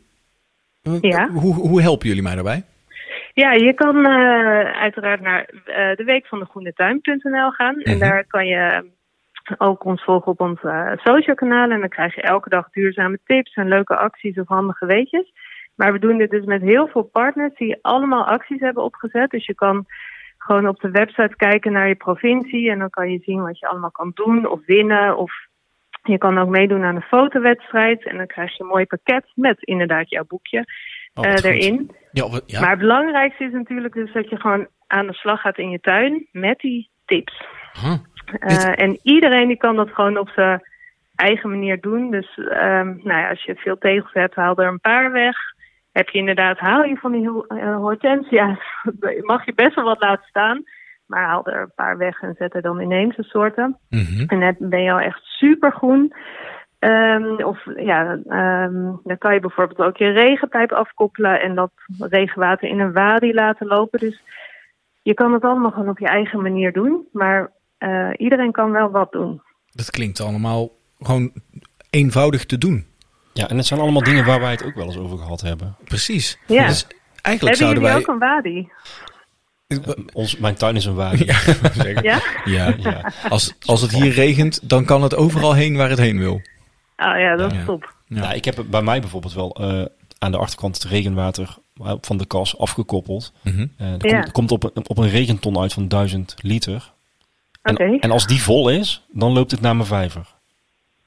Eh,
Ja.
Hoe, hoe helpen jullie mij daarbij?
ja je kan eh, uiteraard naar eh de week van de groene tuin.nl gaan.
Mhm.
En daar kan je ehm, ook ons volgen op onze eh, social kanalen. En dan krijg je elke dag duurzame tips en leuke acties of handige weetjes. Maar we doen dit dus met heel veel partners die allemaal acties hebben opgezet. Dus je kan gewoon op de website kijken naar je provincie. En dan kan je zien wat je allemaal kan doen of winnen. Of je kan ook meedoen aan een fotowedstrijd. En dan krijg je een mooi pakket met inderdaad jouw boekje
Oh, wat
eh,
goed.
erin.
Ja, wat- ja.
Maar het belangrijkste is natuurlijk dus dat je gewoon aan de slag gaat in je tuin met die tips.
Huh.
Eh,
Dit-
en iedereen die kan dat gewoon op zijn eigen manier doen. Dus ehm, nou ja, als je veel tegels hebt, haal er een paar weg. Heb je inderdaad, haal je van die ho- eh, hortensia's. Mag je best wel wat laten staan. Maar haal er een paar weg en zet er dan ineens een soorten.
Mhm.
En dan ben je al echt supergroen. Ehm, of ja, ehm, dan kan je bijvoorbeeld ook je regenpijp afkoppelen en dat regenwater in een wadi laten lopen. Dus je kan het allemaal gewoon op je eigen manier doen. Maar eh, iedereen kan wel wat doen.
Dat klinkt allemaal gewoon eenvoudig te doen.
Ja, en het zijn allemaal dingen waar wij het ook wel eens over gehad hebben.
Precies.
Ja.
Dus eigenlijk
Hebben
zouden
jullie
wij.
ook een wadi?
Ons, mijn tuin is een waarde.
Ja, zeggen.
Ja?
Ja.
Ja.
Als, als het hier regent, dan kan het overal heen waar het heen wil.
Oh ja, dat
Ja.
is top.
Ja.
Nou, ik heb het bij mij bijvoorbeeld wel eh, aan de achterkant het regenwater eh, van de kas afgekoppeld.
Mhm.
Eh, er
Ja.
komt, er komt op, een- op een regenton uit van 1000 liter. En,
Oké.
en als die vol is, dan loopt het naar mijn vijver.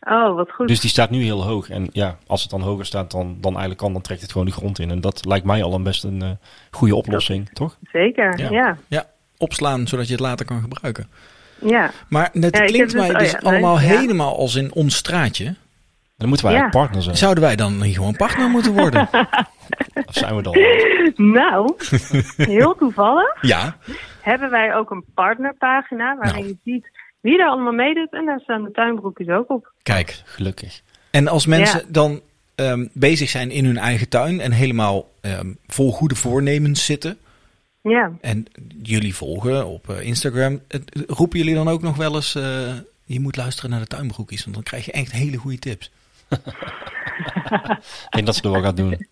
Oh, wat goed.
Dus die staat nu heel hoog. En ja, als het dan hoger staat dan, dan eigenlijk kan, dan trekt het gewoon de grond in. En dat lijkt mij al een best een eh, goede oplossing, toch?
Zeker,
Ja.
ja. ja.
Ja, opslaan zodat je het later kan gebruiken.
ja.
Maar net
Ja, ik
klinkt
heb dus-
mij
oh
dus
ja, nee,
allemaal
ja.
helemaal als in ons straatje.
Dan moeten we
Ja.
eigenlijk partner zijn.
Zouden wij dan niet gewoon partner moeten worden?
Of zijn we dan?
Nou, heel toevallig
ja.
hebben wij ook een partnerpagina
Nou.
waarin je ziet wie er allemaal meedoet. En daar staan de tuinbroekjes ook op.
Kijk.
Gelukkig.
En als mensen
Ja.
dan ehm, bezig zijn in hun eigen tuin en helemaal ehm, vol goede voornemens zitten.
Ja.
En jullie volgen op eh, Instagram. het- roepen jullie dan ook nog wel eens... eh, je moet luisteren naar de tuinbroekjes, want dan krijg je echt hele goede tips.
Ik denk dat ze er wel gaat doen.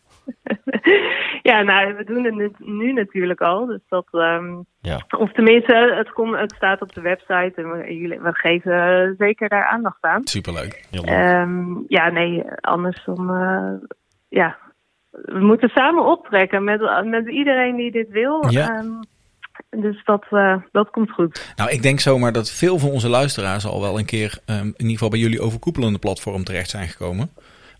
ja, nou, we doen het nu- nu natuurlijk al. Dus dat, ehm,
Ja.
of tenminste, het, komt, het staat op de website en we, jullie, we geven eh, zeker daar aandacht aan.
Superleuk.
Heel leuk.
Ehm, ja, nee, anders dan. eh, ja, we moeten samen optrekken met, met iedereen die dit wil.
Ja.
Ehm, dus dat, eh, dat komt goed.
Nou, ik denk zomaar dat veel van onze luisteraars al wel een keer... ehm, in ieder geval bij jullie overkoepelende platform terecht zijn gekomen.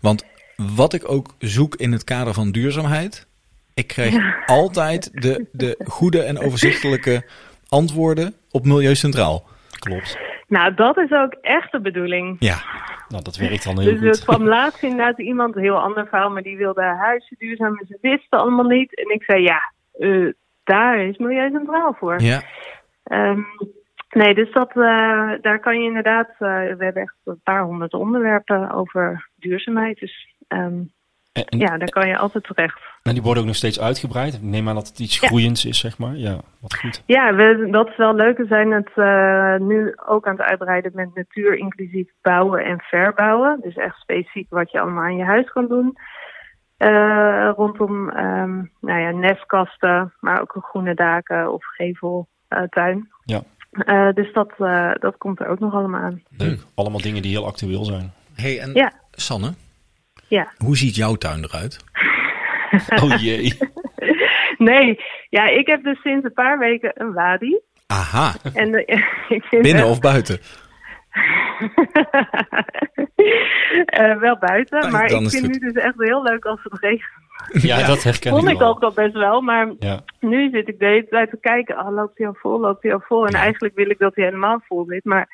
Want wat ik ook zoek in het kader van duurzaamheid... Ik krijg altijd de, de goede en overzichtelijke antwoorden op Milieu Centraal.
Klopt.
Nou, dat is ook echt de bedoeling.
Ja,
Nou, dat werkt dan heel
Dus er
goed.
kwam laatst inderdaad iemand, een heel ander verhaal, maar die wilde haar huisje duurzaam en ze wisten allemaal niet. En ik zei, ja, eh, daar is Milieu Centraal voor.
ja.
Ehm, nee, dus dat, eh, daar kan je inderdaad, eh, we hebben echt een paar honderd onderwerpen over duurzaamheid. Dus ehm,
En, en-
ja, daar kan je altijd terecht.
en die worden ook nog steeds uitgebreid. Ik neem aan dat het iets groeiends is, zeg maar. Ja, wat goed.
Ja, we, dat is wel leuk. We zijn het eh, nu ook aan het uitbreiden met natuur inclusief bouwen en verbouwen. Dus echt specifiek wat je allemaal aan je huis kan doen. Eh, rondom ehm, nou ja, nestkasten, maar ook groene daken of geveltuin.
Ja.
Eh, dus dat, eh, dat komt er ook nog allemaal aan.
Leuk. Allemaal dingen die heel actueel zijn.
Hey, en
Ja.
Sanne,
Ja.
hoe ziet jouw tuin eruit?
Oh jee.
Nee, ja, ik heb dus sinds een paar weken een wadi.
Aha,
En eh, ik vind
binnen
het-
of buiten?
Eh, wel buiten,
Dan-
maar
Nou, dan
ik
is het
vind
goed.
nu dus echt heel leuk als het regent.
Ja, dat herken
Vond ik
wel.
ook al best wel, maar
Ja,
nu zit ik de hele tijd te kijken. Oh, loopt hij al vol, loopt hij al vol. En eigenlijk wil ik dat hij helemaal vol zit, maar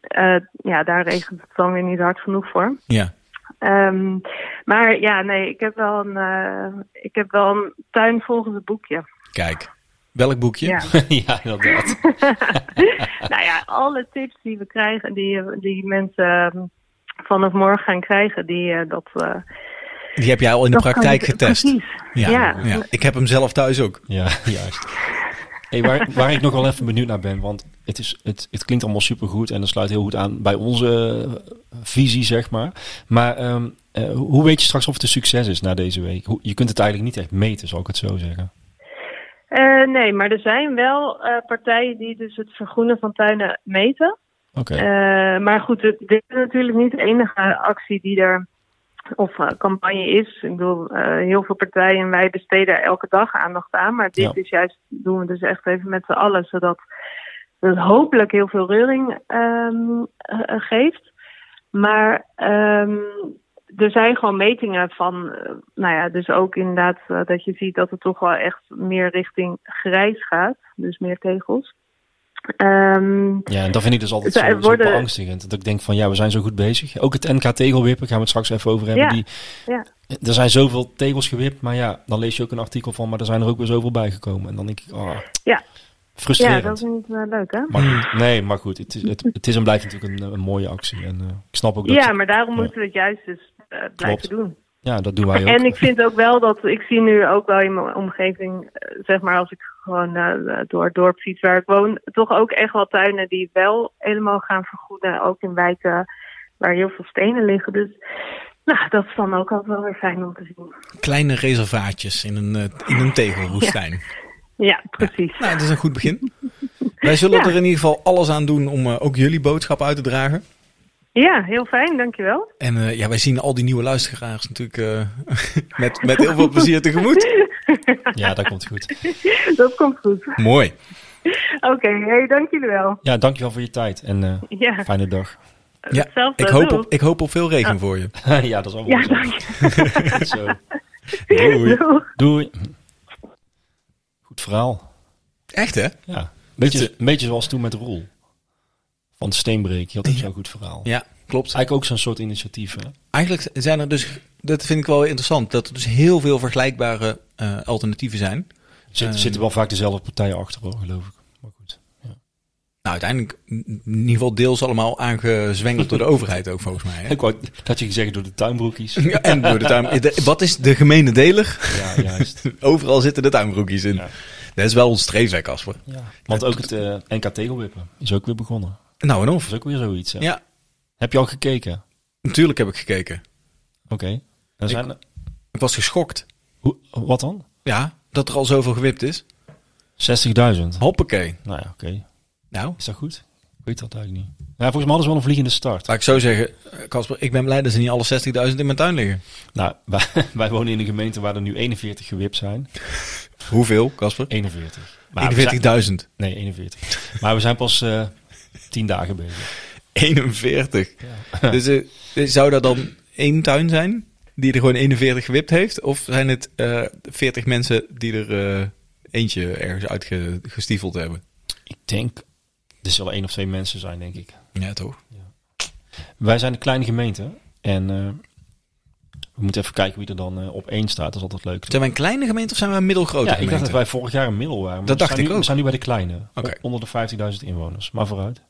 eh, ja, daar regent het dan weer niet hard genoeg voor.
Ja.
Ehm, maar ja, nee, ik heb wel een, eh, ik heb wel een tuin volgens het boekje.
Kijk, welk boekje?
Ja.
ja inderdaad.
nou ja, alle tips die we krijgen, die, eh, die mensen eh, vanaf morgen gaan krijgen, die eh, dat. eh,
Die heb jij al in de
dat kan
praktijk
ik-
getest.
Precies.
Ja, ja.
Ja.
ik heb hem zelf thuis ook.
Ja, juist. Hey, waar, waar ik nog wel even benieuwd naar ben, want het, is, het, het klinkt allemaal supergoed en dat sluit heel goed aan bij onze eh, visie, zeg maar. Maar ehm, eh, hoe weet je straks of het een succes is na deze week? Hoe, je kunt het eigenlijk niet echt meten, zal ik het zo zeggen.
Eh, nee, maar er zijn wel eh, partijen die dus het vergroenen van tuinen meten.
Oké,
Eh, maar goed, het- dit is natuurlijk niet de enige actie die er of eh, campagne is. Ik bedoel, eh, heel veel partijen en wij besteden er elke dag aandacht aan. Maar dit
Ja.
is juist, doen we dus echt even met z'n allen, zodat het hopelijk heel veel reuring ehm, eh, eh, geeft. Maar ehm, er zijn gewoon metingen van, eh, nou ja, dus ook inderdaad eh, dat je ziet dat het toch wel echt meer richting grijs gaat. Dus meer tegels. Ehm
ja, en dat vind ik dus altijd
Zij
zo, zo
worden-
beangstigend. Dat ik denk van, ja, we zijn zo goed bezig. Ook het NK tegelwippen, gaan we het straks even over hebben.
Ja,
Die,
ja.
Er zijn zoveel tegels gewipt, maar ja, dan lees je ook een artikel van, maar er zijn er ook weer zoveel bijgekomen. En dan denk ik, ah,
Ja. Ja,
frustrerend.
dat is niet eh, leuk, hè?
Maar goed, nee, maar goed, het is, het, het is en blijft natuurlijk een, eh, een mooie actie. En eh, ik snap ook dat.
Ja, maar daarom
ja.
moeten we het juist dus eh, blijven doen.
ja, dat doen wij ook.
En ik vind ook wel dat, ik zie nu ook wel in mijn omgeving, eh, zeg maar als ik gewoon eh, door het dorp fiets waar ik woon, toch ook echt wel tuinen die wel helemaal gaan vergoeden. Ook in wijken waar heel veel stenen liggen. Dus nou, dat is dan ook altijd wel weer fijn om te zien.
Kleine reservaatjes in een, eh, in een tegelwoestijn.
Ja, precies.
Nou, dat is een goed begin. Wij zullen
Ja.
er in ieder geval alles aan doen om eh, ook jullie boodschap uit te dragen.
Ja, heel fijn, dankjewel.
En eh, ja, wij zien al die nieuwe luisteraars natuurlijk eh, met, met heel veel plezier tegemoet.
Ja, dat komt goed.
Dat komt goed.
Mooi.
Oké, hey, dank jullie wel.
Ja, dankjewel voor je tijd en eh,
Ja,
fijne dag.
Ja,
hetzelfde
ik hoop,
doe.
op, ik hoop op veel regen voor je.
ja, dat is allemaal
Ja,
zo.
dank je.
Goed zo. Doei.
Doeg.
Doei. Goed verhaal.
Echt hè?
Ja. Beetje, een beetje zoals toen met Roel. Van Steenbreek. Je had ook zo'n goed verhaal.
Ja, klopt.
Eigenlijk ook zo'n soort initiatief. Hè?
Eigenlijk zijn er dus, dat vind ik wel interessant, dat er dus heel veel vergelijkbare eh, alternatieven zijn.
Zit,
Ehm.
zitten wel vaak dezelfde partijen achter, hoor, geloof ik. Maar goed.
Nou, uiteindelijk in in ieder geval deels allemaal aangezwengeld door de overheid ook volgens mij. Hè?
Ik wou, dat had je gezegd door de tuinbroekjes.
Ja, en door de tuin. de- Wat is de gemene deler?
ja, juist.
Overal zitten de tuinbroekjes in.
Ja.
Dat is wel ons streefwerk, Casper.
Ja. Want ook het eh, NK Tegelwippen is ook weer begonnen.
Nou en
Dat
of.
is ook weer zoiets. hè?
Ja,
Heb je al gekeken?
natuurlijk heb ik gekeken.
Oké. Er Zijn,
Ik was geschokt.
hoe, wat dan? 60.000.
Ja, dat er al zoveel gewipt is.
Nou
Hoppakee.
ja, oké.
Nou,
Is dat goed? Ik weet dat eigenlijk niet. Ja, volgens mij hadden ze wel een vliegende start.
laat ik zo zeggen, eh, Casper, ik ben blij dat ze niet alle 60.000 in mijn tuin liggen.
Nou, wij, wij wonen in een gemeente waar er nu 41 gewipt zijn.
Hoeveel, Casper?
41. Maar we zijn-
41.000.
Nee, 41. Maar we zijn pas eh 10 dagen bezig.
41. Dus eh, zou dat dan één tuin zijn die er gewoon 41 gewipt heeft? Of zijn het eh 40 mensen die er eh, eentje ergens uitgestiefeld hebben?
Ik denk, er zullen één of twee mensen zijn, denk ik.
Ja, toch?
Wij zijn een kleine gemeente. En eh, we moeten even kijken wie er dan eh, op één staat. Dat is altijd leuk.
Zijn wij een kleine gemeente of zijn wij een middelgrote
ja, ik
gemeente?
dacht dat wij vorig jaar een middel waren. maar
Dat
we
dacht
zijn
ik
nu,
ook.
We zijn nu bij de kleine.
Oké.
Onder de 15.000 inwoners. Maar vooruit.
Wij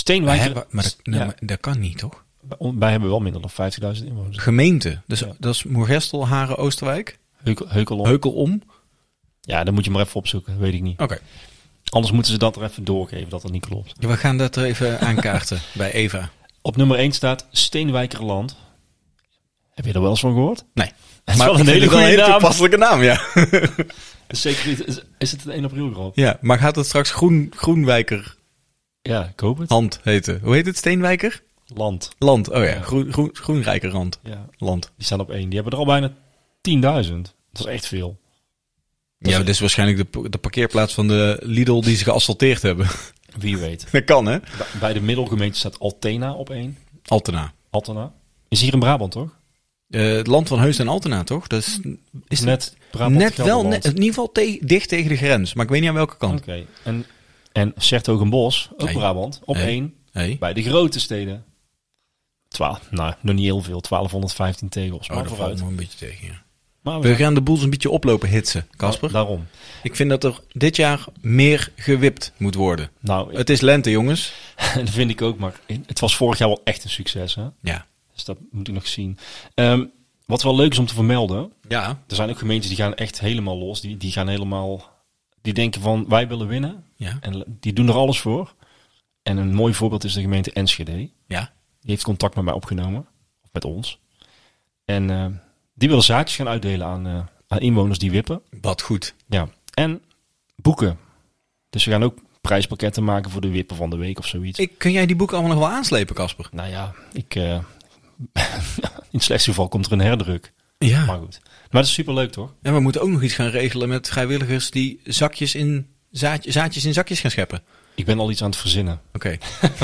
Steenwijk.
hebben- maar, dat, nou,
Ja,
maar dat kan niet, toch?
wij- wij hebben wel minder dan 50.000 inwoners.
Gemeente. Dus
Ja.
dat is Moergestel, Haren, Oosterwijk,
Heukel, Heukelom.
Heukelom.
Ja, dan moet je maar even opzoeken. Weet ik niet.
Oké,
Anders moeten ze dat er even doorgeven dat dat niet klopt.
we gaan dat er even aankaarten bij Eva.
Op nummer 1 staat Steenwijkerland. Heb je er wel eens van gehoord?
Nee.
is wel
ik
een
vind
hele
het
goede naam.
toepasselijke naam, ja.
Is Zeker niet. Is, is het een 1 april grap?
ja. Maar gaat het straks Groen, Groenwijkerhand
Ja, ik hoop het.
heten? Hoe heet het? Steenwijker?
Land.
Land, oh ja,
Ja.
groen, groen, groenrijke rand.
Ja,
Land.
die staan op 1. Die hebben er al bijna 10.000. Dat is echt veel.
Ja, dat is waarschijnlijk de, de parkeerplaats van de Lidl die ze geasfalteerd hebben.
Wie weet.
Dat kan, hè?
Ba- Bij de middelgemeente staat Altena op 1.
Altena.
Altena. Is hier in Brabant, toch?
Eh, het land van Heus en Altena, toch? Dat is, is
net
het-
Brabant
net wel,
Gelderland.
net, in ieder geval te- dicht tegen de grens. Maar ik weet niet aan welke
Oké.
kant.
En, en Sertogenbos, ook
Nee.
Brabant, op
Nee.
1.
Hey. Oh,
Bij de grote steden. 12, nou, nog niet heel veel. 1215 tegels.
Oh,
Maar
daar valt
vooruit. Oh,
me een beetje tegen, ja.
Maar we
We
zijn-
gaan de boel een beetje oplopen hitsen,
Oh,
Casper.
Daarom.
Ik vind dat er dit jaar meer gewipt moet worden.
Nou,
Het is lente, jongens.
dat vind ik ook. Maar het was vorig jaar wel echt een succes. Hè?
Ja.
Dus dat moet ik nog zien. Ehm, wat wel leuk is om te vermelden.
Ja.
Er zijn ook gemeentes die gaan echt helemaal los. Die, die gaan helemaal... Die denken van, wij willen winnen.
Ja.
En die doen er alles voor. En een mooi voorbeeld is de gemeente Enschede. Die
Ja.
heeft contact met mij opgenomen. Of met ons. En eh, die willen zaadjes gaan uitdelen aan, eh, aan inwoners die wippen.
Wat goed.
Ja, en boeken. Dus we gaan ook prijspakketten maken voor de wippen van de week of zoiets.
Ik, kun jij die boeken allemaal nog wel aanslepen, Casper?
Nou ja, ik, eh, in het slechtste geval komt er een herdruk.
Ja.
Maar goed. Maar dat is superleuk toch?
En we moeten ook nog iets gaan regelen met vrijwilligers die zakjes in zaadje- zaadjes in zakjes gaan scheppen.
Ik ben al iets aan het verzinnen.
Oké.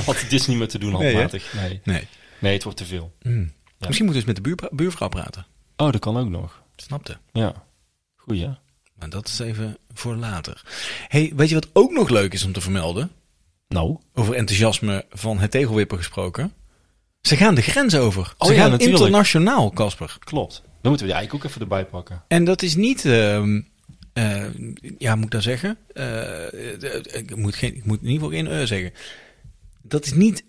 Want dit is niet meer te doen
Nee, hè?
handmatig. Nee,
Nee.
nee het wordt te veel.
Hmm. Misschien moeten we eens met de buurpra- buurvrouw praten.
Oh, dat kan ook nog.
Snapte.
Ja. Goeie. hè?
Maar dat is even voor later. Hey, weet je wat ook nog leuk is om te vermelden?
Nou,
Over enthousiasme van het tegelwippen gesproken. Ze gaan de grens over. Ze
ja,
gaan
natuurlijk.
internationaal, Casper.
klopt. Dan moeten we die eigenlijk ook even erbij pakken.
En dat is niet, ehm, eh, ja, moet ik dat zeggen? Eh, eh, ik, moet geen, ik moet in ieder geval geen eh zeggen. Dat is niet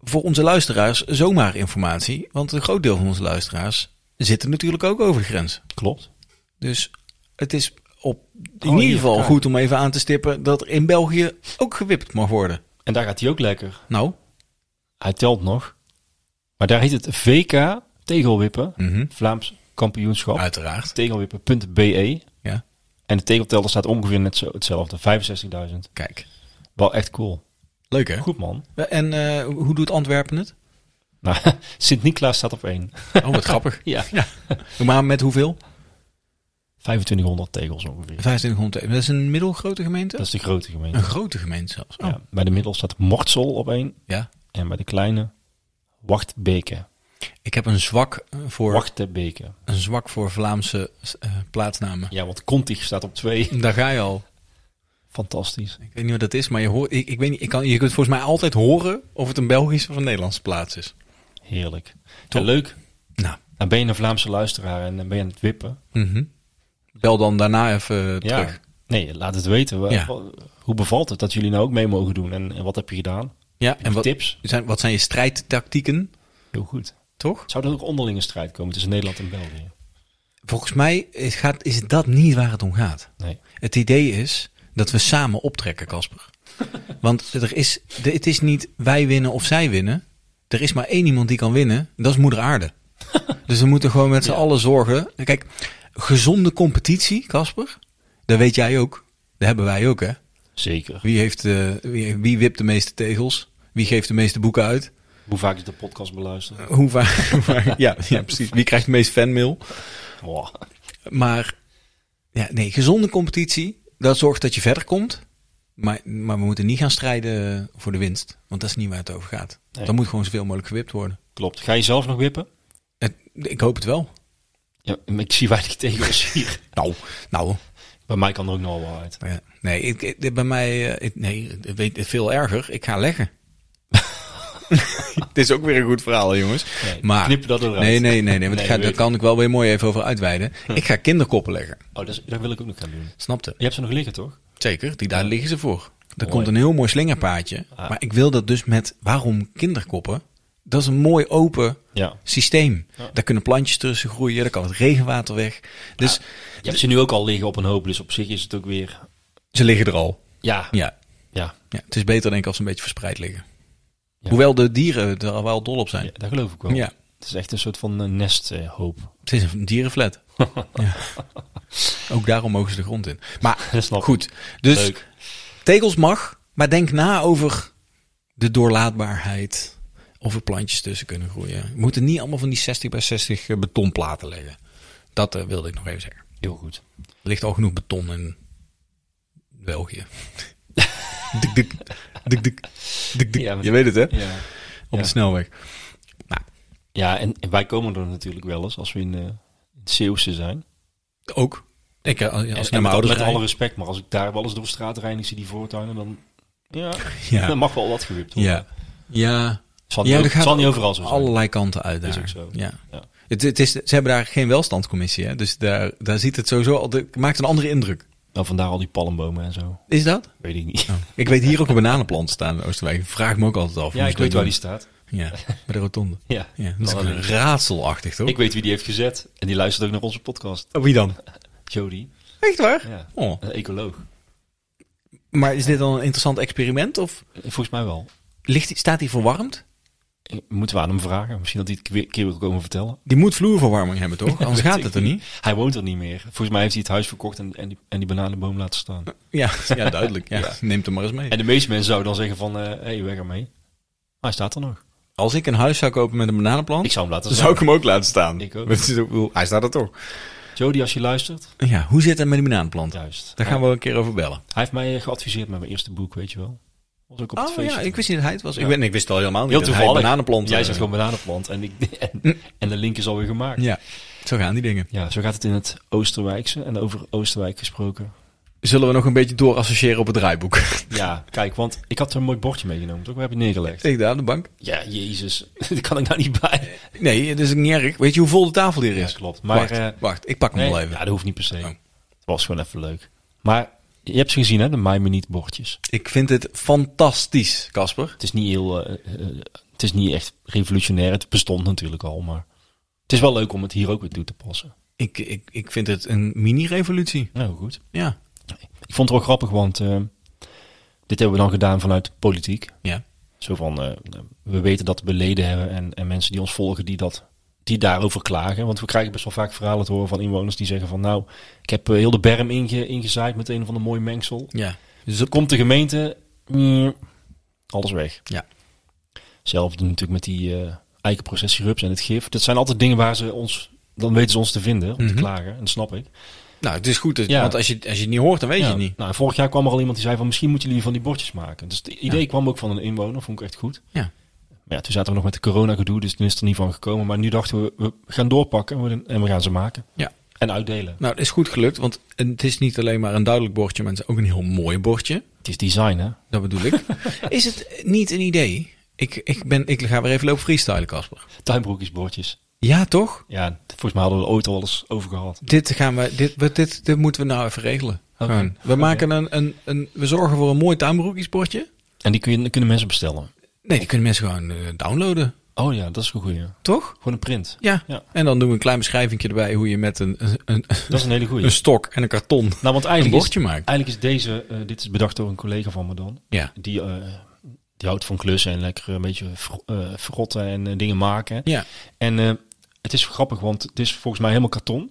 voor onze luisteraars zomaar informatie, want een groot deel van onze luisteraars zitten natuurlijk ook over de grens.
Klopt.
Dus het is op, in
Oh, hier,
ieder geval
kijk.
goed om even aan te stippen dat er in België ook gewipt mag worden.
En daar gaat hij ook lekker.
Nou,
Hij telt nog. Maar daar heet het VK Tegelwippen.
mhm,
Vlaams kampioenschap.
uiteraard.
tegelwippen.be.
Ja.
En de tegeltelder staat ongeveer net zo hetzelfde. 65.000.
Kijk,
Wel echt cool.
leuk hè?
Goed man.
En eh, hoe doet Antwerpen het?
Nou, Sint-Niklaas staat op 1.
Oh, wat grappig.
Ja.
Maar met hoeveel?
2500 tegels ongeveer.
2500. Dat is een middelgrote gemeente?
Dat is de grote gemeente.
Een grote gemeente zelfs. Oh,
Ja. Bij de middel staat Mortsel op 1.
ja.
En bij de kleine Wachtbeke.
Ik heb een zwak eh, voor,
Wachtbeke.
een zwak voor Vlaamse eh, plaatsnamen.
Ja, want Contig staat op twee.
Daar ga je al.
Fantastisch.
Ik weet niet wat dat is, maar je, hoort, ik, ik weet niet, ik kan, je kunt volgens mij altijd horen of het een Belgische of een Nederlandse plaats is.
Heerlijk. En leuk.
Nou,
Dan ben je een Vlaamse luisteraar en dan ben je aan het wippen.
mhm. bel dan daarna even eh,
Ja.
terug.
Nee, laat het weten. Wa-
Ja.
wa- Hoe bevalt het dat jullie nou ook mee mogen doen? En, en wat heb je gedaan?
Ja, en
En
wat
tips?
zijn, wat zijn je strijdtactieken,
Heel goed.
toch?
Zou er ook onderlinge strijd komen tussen Nederland en België?
Volgens mij is, gaat, is dat niet waar het om gaat.
Nee.
Het idee is dat we samen optrekken, Casper. Want er is, de- het is niet wij winnen of zij winnen. Er is maar één iemand die kan winnen. en Dat is moeder aarde. Dus we moeten gewoon met z'n allen zorgen. Kijk, gezonde competitie, Casper. Dat weet jij ook. Dat hebben wij ook, hè.
Zeker.
Wie, heeft, eh, wie, wie wipt de meeste tegels? Wie geeft de meeste boeken uit?
Hoe vaak is de podcast beluisterd?
Hoe vaak? hoe vaak- ja, ja, precies. Wie krijgt de meeste fanmail?
Wow.
Maar ja, nee, gezonde competitie, dat zorgt dat je verder komt. Maar, maar we moeten niet gaan strijden voor de winst. Want dat is niet waar het over gaat.
Nee.
Dan moet gewoon zoveel mogelijk gewipt worden.
Klopt. Ga je zelf nog wippen?
Het- ik hoop het wel.
Ja, maar ik zie weinig tegels hier.
Nou, nou.
Bij mij kan er ook nog wel uit.
ja. Nee, ik, ik- bij mij, eh, ik- nee, ik weet het veel erger. Ik ga leggen. Dit is ook weer een goed verhaal, jongens.
Nee,
maar,
knip dat eruit.
Nee, nee, nee. nee want ik Hm. ga,
weet
daar
ik.
kan ik wel weer mooi even over uitweiden. Ik ga kinderkoppen leggen.
Oh, dat, is- dat wil ik ook nog gaan doen.
Snapte?
Je hebt ze nog liggen, toch?
Zeker, die daar liggen ze voor. Er
Mooi.
komt een heel mooi slingerpaadje. Maar ik wil dat dus met waarom kinderkoppen? Dat is een mooi open
Ja.
systeem. Daar kunnen plantjes tussen groeien, daar kan het regenwater weg. Dus
Je hebt ze nu ook al liggen op een hoop, dus op zich is het ook weer...
ze liggen er al.
Ja, ja.
Ja. ja, het is beter denk ik als ze een beetje verspreid liggen. Hoewel de dieren er al wel dol op zijn.
Ja,
Ja,
dat geloof ik wel. Het is echt een soort van eh, nesthoop.
het is een dierenflat. ja. Ook daarom mogen ze de grond in. Maar
Dat snap ik.
goed, dus
Leuk.
Tegels mag, maar denk na over de doorlaatbaarheid. Of er plantjes tussen kunnen groeien. We moeten niet allemaal van die 60 bij 60 eh, betonplaten leggen. Dat eh, wilde ik nog even zeggen.
Heel goed.
Er ligt al genoeg beton in België. dik, dik, dik, dik, dik, dik.
Ja, maar-
Je weet het hè?
Ja,
Op
ja.
de snelweg.
ja en, en wij komen er natuurlijk wel eens als we in, eh het Zeeuwse zijn.
Ook. Ik, eh, als ik
En-
naar
en
mijn
met,
ouders
met
rijd.
alle respect, maar als ik daar wel eens door straat rijd en ik zie die voortuinen, dan... Ja,
Ja.
dan mag wel wat gewipt worden.
Ja. Ja.
Het zal,
Ja,
niet,
dat
ook- het
gaat
zal niet
ook
overal zo zijn.
allerlei kanten uit daar.
Is ook zo.
Ja.
Ja.
Het, het is, ze hebben daar geen welstandscommissie, hè? dus daar, daar ziet het sowieso al, het maakt een andere indruk.
Nou, vandaar al die palmbomen en zo.
Is dat?
Weet ik niet.
Ik weet hier ook een bananenplant staan in Oosterwijk. Ik Vraag me ook altijd af.
Ja,
hoe
ik
ze
weet
dat
waar die staat.
doen. Ja, bij de rotonde.
Ja.
Ja, dat is
Dan
ook
alleen.
raadselachtig, toch?
Ik weet wie die heeft gezet. En die luistert ook naar onze podcast.
Oh, Wie dan?
Jody.
Echt waar?
Ja.
Oh.
Een ecoloog.
Maar is dit dan een interessant experiment? Of
Eh, Volgens mij wel.
ligt, die- staat die verwarmd?
Eh, Moeten we aan hem vragen. Misschien dat hij het een keer wil komen vertellen.
Die moet vloerverwarming hebben, toch? Anders
Weet
gaat
ik
het er niet.
Hij woont er niet meer. Volgens mij heeft hij het huis verkocht en, en, die, en die bananenboom laten staan.
Ja, ja duidelijk. Ja.
Ja.
Neemt hem maar eens mee.
En de meeste mensen zouden dan zeggen van, hé, hey, weg ermee. Maar hij staat er nog.
Als ik een huis zou kopen met een bananenplant,
Ik zou hem laten
dan Oh. zou
staan.
ik hem ook laten staan.
Ik ook.
Want het is ook- ik bedoel, Hij staat er toch.
Jody, als je luistert.
Ja, hoe zit het met die banaanplant?
Juist.
Daar gaan we een keer over bellen.
Hij heeft mij eh, geadviseerd met mijn eerste boek, weet je wel. Was ook op het
Oh
feestje.
ja, ik wist niet dat hij het was. Ik,
Ja.
ben, ik wist al helemaal niet
Heel
dat hij
toevallig.
bananenplant
Jij
eh, Hm.
zegt gewoon bananenplant. En, ik, en, en de link is alweer gemaakt.
Ja, zo gaan die dingen.
Ja, zo gaat het in het Oosterwijkse. En over Oosterwijk gesproken.
Zullen we nog een beetje doorassociëren op het draaiboek?
Ja, kijk, want ik had een mooi bordje meegenomen, toch? We hebben het neergelegd.
Steek daar aan de bank.
Ja, jezus. Daar kan ik nou niet bij.
Nee, dat is niet erg. Weet je hoe vol de tafel hier is?
Ja, klopt. Maar,
wacht,
eh,
wacht, ik pak hem
Nee,
wel even.
Ja, dat hoeft niet per se.
Oh.
Het was gewoon even leuk. Maar je hebt ze gezien, hè? De Mij Me Niet bordjes.
Ik vind het fantastisch, Casper.
Het is niet heel... eh, eh, het is niet echt revolutionair. Het bestond natuurlijk al, maar... Het is wel leuk om het hier ook weer toe te passen.
Ik, ik, ik vind het een mini-revolutie.
Nou, goed.
Ja.
Ik vond het wel grappig, want... eh, dit hebben we dan gedaan vanuit de politiek.
ja.
Zo van, eh, we weten dat we leden hebben en, en mensen die ons volgen die, dat, die daarover klagen. Want we krijgen best wel vaak verhalen te horen van inwoners die zeggen van... nou, ik heb eh, heel de berm inge, ingezaaid met een of ander mooi mengsel.
ja.
Dus dan komt de gemeente, mm, alles weg.
Ja.
Hetzelfde natuurlijk met die eh, eikenprocessierups en het gif. Dat zijn altijd dingen waar ze ons... Dan weten ze ons te vinden, om
Mhm.
te klagen. En dat snap ik.
Nou, het is goed. dat-
Ja.
Want als je, als je het niet hoort, dan weet
Ja,
je het niet.
Nou, vorig jaar kwam er al iemand die zei van... misschien moeten jullie van die bordjes maken. Dus het idee kwam ook van een inwoner, vond ik echt goed.
Ja.
Maar ja, toen zaten we nog met de corona gedoe, dus toen is het er niet van gekomen. Maar nu dachten we, we gaan doorpakken en we, en we gaan ze maken.
Ja.
En uitdelen.
Nou, het is goed gelukt, want het is niet alleen maar een duidelijk bordje, maar het is ook een heel mooi bordje.
Het is design, hè?
Dat bedoel ik. is het niet een idee? Ik, ik, ben, ik ga weer even lopen freestylen, Casper.
Tuinbroekjesbordjes.
Ja, toch?
Ja, volgens mij hadden we er ooit al eens over gehad.
Dit, gaan we, dit, wat- dit, dit moeten we nou even regelen.
Oké.
Gewoon. We,
Oké.
maken een, een, een, we zorgen voor een mooi tuinbroekjesbordje.
En die kun je, kunnen mensen bestellen.
Nee, die kunnen mensen gewoon eh, downloaden,
Oh ja, dat is een goeie.
toch?
Gewoon een print.
Ja.
Ja.
En dan doen we een klein beschrijving erbij hoe je met een, een, een,
Dat is een hele
een
goeie.
stok en een karton.
Dus- Nou, want eigenlijk
Een bordje
is,
maken.
Eigenlijk is deze, eh, dit is bedacht door een collega van me dan.
Ja.
Die, eh, die houdt van klussen en lekker een beetje vro- eh, verrotten en eh, dingen maken.
Ja.
En eh, het is grappig, want het is volgens mij helemaal karton.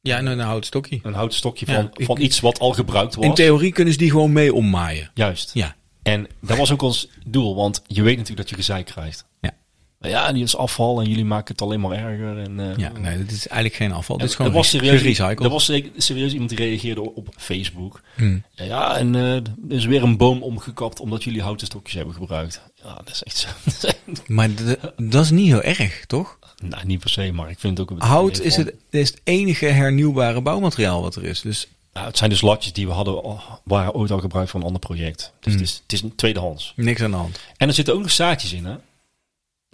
Ja, en een houten stokje.
Een houten stokje
Ja,
van,
ik-
van iets wat al gebruikt was.
In theorie kunnen ze die gewoon mee ommaaien.
Juist.
Ja.
En dat was ook ons doel, want je weet natuurlijk dat je gezeik krijgt.
Ja.
Maar ja, die is afval en jullie maken het alleen maar erger. En, eh,
Ja, nee, dit is eigenlijk geen afval.
en
Dit is gewoon
er was
gere-
serieus,
gerecycled.
Er was se- serieus iemand die reageerde op- op Facebook.
Hmm.
Ja, en eh, er is weer een boom omgekapt omdat jullie houten stokjes hebben gebruikt. Ja, dat is echt zo. dat is echt-
Maar d- dat is niet heel erg, toch?
nou, niet per se, maar ik vind het ook... een
Hout
idee
is
van-
het, is het enige hernieuwbare bouwmateriaal wat er is. Dus
Nou, het zijn dus latjes die we hadden, al- waren ooit al gebruikt voor een ander project. Dus
Hmm.
het, is, het is een tweedehands.
niks aan de hand.
En er zitten ook nog zaadjes in, hè?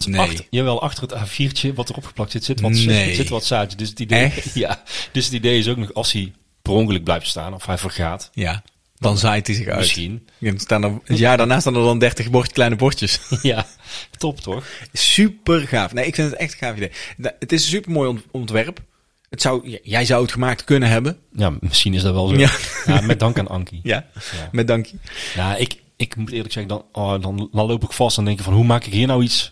Nee.
Achter, jawel, achter het A4'tje wat erop geplakt zit, zit wat,
Nee.
zit wat zaadjes. Dus het, idee,
Echt?
Ja, dus het idee is ook nog, als hij per ongeluk blijft staan of hij vergaat,
Ja, dan zaait hij zich uit.
misschien.
Ja, staan er, het jaar daarna staan er dan 30 bord, kleine bordjes.
ja, top toch?
Super gaaf. Nee, ik vind het echt een gaaf idee. Nou, Het is een super mooi ontwerp. Het zou, j- jij zou het gemaakt kunnen hebben.
Ja, misschien is dat wel zo.
Ja.
Ja. met dank aan Ankie.
Ja,
Ja.
met dankie.
Nou, ik, ik moet eerlijk zeggen, dan, oh, dan, dan loop ik vast en denk ik van, hoe maak ik hier nou iets,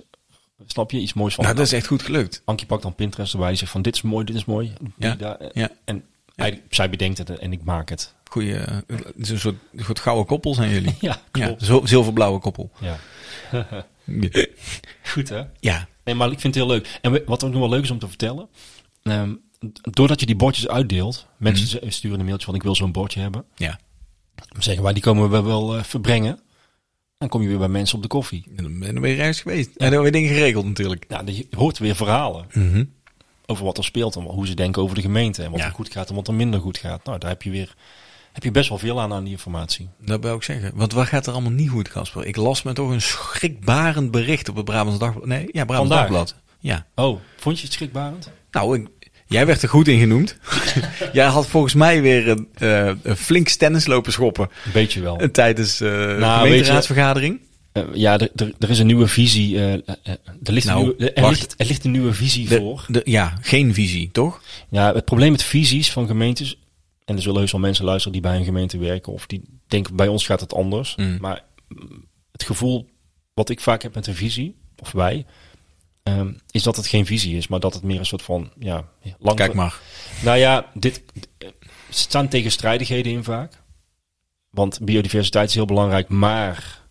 snap je, iets moois van?
Nou, dat is echt goed gelukt.
Ankie pakt dan Pinterest erbij en zegt van, dit is mooi, dit is mooi.
Ja,
Daar-
ja.
En hij, zij bedenkt het en ik maak het.
Goeie, eh, het is een soort, een soort gouden koppel zijn jullie.
Ja,
ja
klopt.
zo- zilverblauwe koppel.
Ja. Goed hè?
Ja,
Nee, maar ik vind het heel leuk. En we- wat ook nog wel leuk is om te vertellen. ehm, doordat je die bordjes uitdeelt. Mensen
Mhm.
z- sturen een mailtje van ik wil zo'n bordje hebben.
ja.
Dan zeggen wij die komen we wel eh, verbrengen. Dan kom je weer bij mensen op de koffie.
En dan ben je reis geweest. En dan hebben we dingen geregeld natuurlijk.
Nou, je hoort weer verhalen over wat er speelt. En hoe ze denken over de gemeente. En wat
Ja.
er goed gaat en wat er minder goed gaat. Nou, daar heb je weer heb je best wel veel aan aan die informatie.
Dat wil ik zeggen. Want wat gaat er allemaal niet goed, Casper? Ik las me toch een schrikbarend bericht op het Brabants Dagblad. Nee, ja, Brabants
Vandaag.
Dagblad. Ja.
Oh, vond je het schrikbarend?
Nou, ik- jij werd er goed in genoemd. jij had volgens mij weer een, eh, een flink stennis lopen schoppen
Een beetje wel.
eh, tijdens eh de
Nou, weet je-
gemeenteraadsvergadering.
Eh, ja, er- er er is een nieuwe visie. eh, eh, eh, er, ligt
Nou,
een nieuwe, er,
wacht.
ligt, er ligt een nieuwe visie
De-
voor.
de- ja, geen visie, toch?
Ja, het probleem met visies van gemeentes. En er zullen heus wel mensen luisteren die bij een gemeente werken. Of die denken, bij ons gaat het anders.
Mm.
Maar mm, het gevoel wat ik vaak heb met een visie, of wij, ehm, is dat het geen visie is. Maar dat het meer een soort van, ja, lang...
Kijk maar.
Nou ja, dit, eh, er staan tegenstrijdigheden in vaak. Want biodiversiteit is heel belangrijk. Maar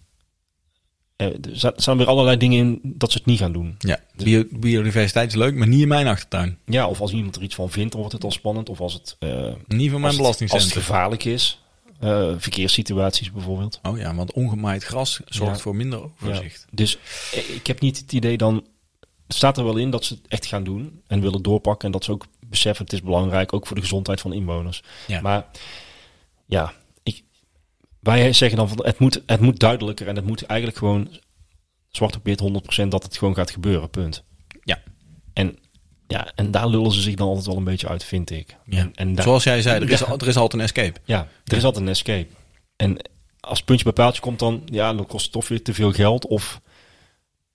eh, er za- staan weer allerlei dingen in dat ze het niet gaan doen.
Ja, bio- biodiversiteit is leuk, maar niet in mijn achtertuin.
Ja, of als iemand er iets van vindt, dan wordt het al spannend. Of als het... eh,
Niet van
als
mijn
het- Als het
belastingcentrum.
gevaarlijk is. eh, verkeerssituaties bijvoorbeeld.
Oh ja, want ongemaaid gras zorgt
Ja.
voor minder overzicht.
Ja. Dus eh, ik heb niet het idee dan... Het staat er wel in dat ze het echt gaan doen. En willen doorpakken. En dat ze ook beseffen, het is belangrijk. Ook voor de gezondheid van inwoners.
Ja.
Maar ja, ik, wij zeggen dan van het moet, het moet duidelijker. En het moet eigenlijk gewoon zwart op wit 100% dat het gewoon gaat gebeuren. Punt.
Ja.
En, ja, en daar lullen ze zich dan altijd wel een beetje uit, vind ik.
Ja.
En, en daar-
Zoals jij zei, er is,
Ja.
al- er is altijd een escape.
Ja, er is altijd een escape. En als het puntje bij paaltje komt dan, ja, dan kost het toch weer te veel geld. Of